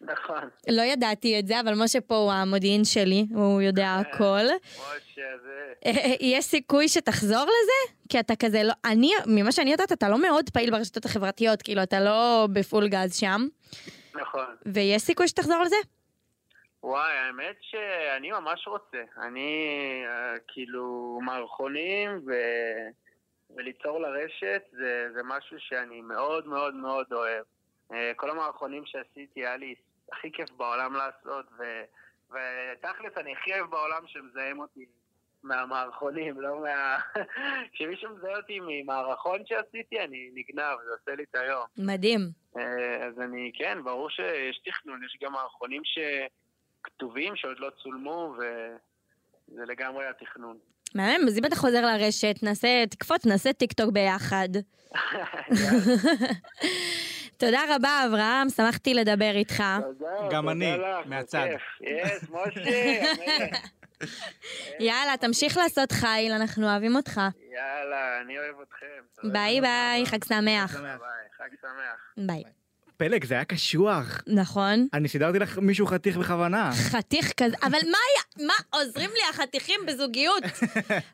Speaker 4: נכון,
Speaker 2: לא ידעתי את זה, אבל משה פה הוא המודיעין שלי, הוא יודע הכל.
Speaker 4: משה, זה...
Speaker 2: אה, יש סיכוי שתחזור לזה? כי אתה כזה לא... אני, ממה שאני יודעת, אתה לא מאוד פעיל ברשתות החברתיות, כאילו, אתה לא בפול גז שם,
Speaker 4: נכון.
Speaker 2: ויש סיכוי שתחזור לזה?
Speaker 4: וואי, האמת שאני ממש רוצה. אני, אה, כאילו, מערכונים ו... וליצור לרשת זה, זה משהו שאני מאוד מאוד מאוד אוהב. אה, כל המערכונים שעשיתי היה לי הכי כיף בעולם לעשות, ו... ותכלס אני הכי אוהב בעולם שמזהים אותי מהמערכונים, לא מה... כשמישהו מזהה אותי ממערכון שעשיתי, אני נגנב, זה עושה לי את היום.
Speaker 2: מדהים.
Speaker 4: אה, אז אני, כן, ברור שיש תכנון, יש גם מערכונים שכתובים, שעוד לא צולמו, וזה לגמרי התכנון.
Speaker 2: מהמם, אז אם אתה חוזר לרשת, נעשה, תקפוץ, נעשה טיק טוק ביחד. תודה רבה, אברהם, שמחתי לדבר איתך.
Speaker 4: תודה,
Speaker 1: גם
Speaker 4: תודה
Speaker 1: אני,
Speaker 4: לך,
Speaker 1: מהצד.
Speaker 4: בכיף. יס, משה, המלך.
Speaker 2: יאללה, תמשיך לעשות חיל, אנחנו אוהבים אותך.
Speaker 4: יאללה, אני אוהב אתכם. תודה.
Speaker 2: ביי ביי, חג שמח.
Speaker 4: ביי, חג שמח.
Speaker 2: ביי.
Speaker 1: פלג, זה היה קשוח.
Speaker 2: נכון?
Speaker 1: אני סידרתי לך מישהו חתיך בכוונה.
Speaker 2: חתיך כזה, אבל מה היה, מה עוזרים לי החתיכים בזוגיות?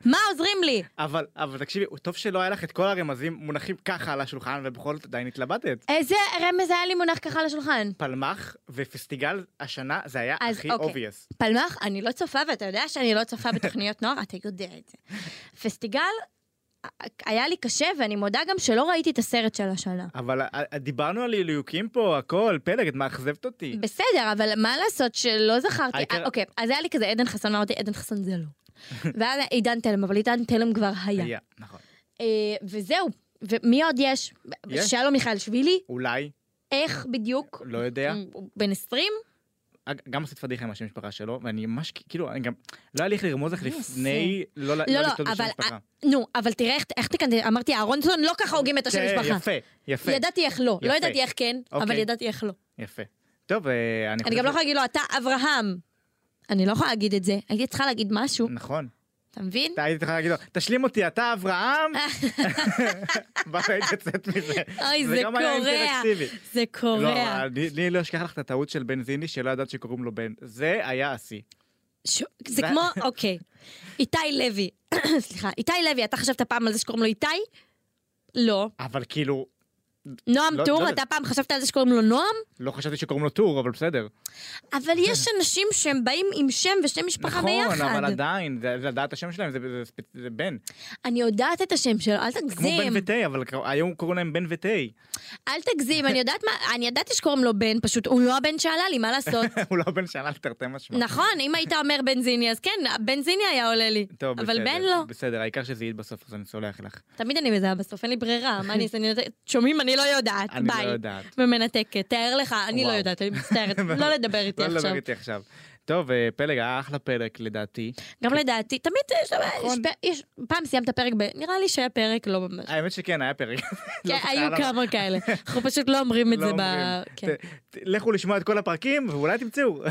Speaker 2: מה עוזרים לי?
Speaker 1: אבל, אבל תקשיבי, טוב שלא היה לך את כל הרמזים מונחים ככה על השולחן, ובכל זאת עדיין התלבטת.
Speaker 2: איזה רמז היה לי מונח ככה על השולחן?
Speaker 1: פלמח ופסטיגל השנה, זה היה
Speaker 2: אז
Speaker 1: הכי
Speaker 2: אוקיי.
Speaker 1: אובייס.
Speaker 2: פלמח, אני לא צופה, ואתה יודע שאני לא צופה בתוכניות נוער, אתה יודע את זה. פסטיגל, היה לי קשה, ואני מודה גם שלא ראיתי את הסרט של השנה.
Speaker 1: אבל אה, אה, דיברנו על הליהוקים פה, הכל, פלג, את מאכזבת אותי.
Speaker 2: בסדר, אבל מה לעשות שלא זכרתי.
Speaker 1: העיקר-
Speaker 2: אה, אוקיי, אז היה לי כזה עדן חסון, אמרתי, עדן חסון זה לא. ואז עידן תלם, אבל עידן תלם כבר היה.
Speaker 1: היה, נכון.
Speaker 2: אה, וזהו, ומי עוד יש?
Speaker 1: יש.
Speaker 2: שלום מיכאל שבילי,
Speaker 1: אולי,
Speaker 2: איך בדיוק?
Speaker 1: לא יודע.
Speaker 2: הוא בן 20?
Speaker 1: אג- גם עשית פדיחה עם השם משפחה שלו, ואני ממש, כ- כאילו, אני גם, לא היה לי איך לרמוז לך
Speaker 2: מה הוא
Speaker 1: לפני, לא
Speaker 2: אה, לא, לא,
Speaker 1: לכתוב את השם
Speaker 2: אבל-
Speaker 1: משפחה.
Speaker 2: נו, אבל תראה איך- איך תקנתי, אמרתי, אהרונסון, לא ככה הוגים את השם
Speaker 1: כן,
Speaker 2: משפחה.
Speaker 1: יפה, יפה,
Speaker 2: ידעתי איך לא, לא
Speaker 1: יפה.
Speaker 2: ידעתי איך כן, אבל
Speaker 1: אוקיי.
Speaker 2: ידעתי איך לא.
Speaker 1: יפה. טוב, אה, אני
Speaker 2: אני
Speaker 1: חושב
Speaker 2: גם לא
Speaker 1: ש-
Speaker 2: יכולה להגיד לו, אתה אברהם. אני לא יכולה להגיד את זה, הייתי צריכה להגיד משהו,
Speaker 1: נכון.
Speaker 2: אתה מבין?
Speaker 1: אתה היית צריכה להגיד לו, תשלים אותי, אתה אברהם? ואז היית יוצאת מזה.
Speaker 2: אוי, זה
Speaker 1: גם היה
Speaker 2: קורע,
Speaker 1: אינטראקטיבי.
Speaker 2: זה
Speaker 1: לא,
Speaker 2: קורע.
Speaker 1: אני אני לא אשכח לך את הטעות של בנזיני שלא ידעת שקוראים לו בן. זה היה השיא.
Speaker 2: ש- זה
Speaker 1: זה-
Speaker 2: כמו, אוקיי, איתי לוי, סליחה, איתי לוי, אתה חשבת פעם על זה שקוראים לו איתי? לא.
Speaker 1: אבל כאילו,
Speaker 2: נועם
Speaker 1: לא-
Speaker 2: טור,
Speaker 1: לא-
Speaker 2: אתה פעם חשבת על זה שקוראים לו נועם?
Speaker 1: לא חשבתי שקוראים לו טור, אבל בסדר.
Speaker 2: אבל יש אנשים שהם באים עם שם ושם משפחה
Speaker 1: כן. נכון, אבל
Speaker 2: ביחד.
Speaker 1: עדיין, זה זה לדעת השם שלהם, זה- זה- זה- זה בן.
Speaker 2: אני יודעת את השם שלו, אל
Speaker 1: כמו
Speaker 2: תגזים.
Speaker 1: בן ותה, אבל כ- היום קוראים להם בן ותה.
Speaker 2: אל תגזים, אני יודעת מה, אני ידעתי שקוראים לו בן, פשוט הוא לא הבן שעלה לי, מה לעשות?
Speaker 1: הוא לא בן שנה לתרתי משמע.
Speaker 2: נכון, אם היית אומר בנזיני, אז כן, בנזיני היה עולה לי.
Speaker 1: טוב,
Speaker 2: אבל
Speaker 1: בסדר.
Speaker 2: בן לא.
Speaker 1: בסדר, העיקר שזה יעיד בסוף, אז אני סולח לך.
Speaker 2: תמיד אני מזהה בסוף, אין לי ברירה, מה אני אעשה? אני יודעת- שומעים? אני לא יודעת,
Speaker 1: אני
Speaker 2: ביי.
Speaker 1: לא יודעת.
Speaker 2: ומנתקת, תאר לך, אני לא
Speaker 1: וואו.
Speaker 2: יודעת, אני מצטערת, לא לדבר איתי
Speaker 1: לא
Speaker 2: עכשיו.
Speaker 1: לדבר איתי עכשיו. טוב, אה, פלג היה אחלה פרק לדעתי.
Speaker 2: גם לדעתי, תמיד אה, יש,
Speaker 1: כן. נכון.
Speaker 2: יש- יש, פעם סיימת פרק ב... נראה לי שהיה פרק לא ממש.
Speaker 1: האמת שכן, היה פרק. לא
Speaker 2: כן,
Speaker 1: זוכר
Speaker 2: היו
Speaker 1: למה.
Speaker 2: כמה כאלה, אנחנו פשוט לא אומרים את
Speaker 1: לא
Speaker 2: זה ב...
Speaker 1: אומרים.
Speaker 2: כן.
Speaker 1: ת- ת- לכו לשמוע את כל הפרקים ואולי תמצאו.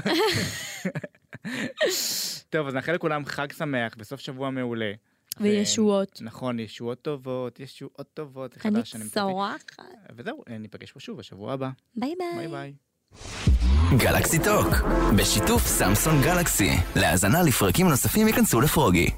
Speaker 1: טוב, אז נאחל לכולם חג שמח וסוף שבוע מעולה.
Speaker 2: וישועות.
Speaker 1: ו- נכון, ישועות טובות, ישועות טובות. זה
Speaker 2: אני
Speaker 1: חדש, מצטער.
Speaker 2: צורחת.
Speaker 1: וזהו, אה, ניפגש פה שוב בשבוע הבא.
Speaker 2: ביי
Speaker 1: ביי
Speaker 2: ביי.
Speaker 1: ביי.
Speaker 3: גלקסי טוק, בשיתוף סמסון גלקסי. להאזנה לפרקים נוספים ייכנסו לפרוגי.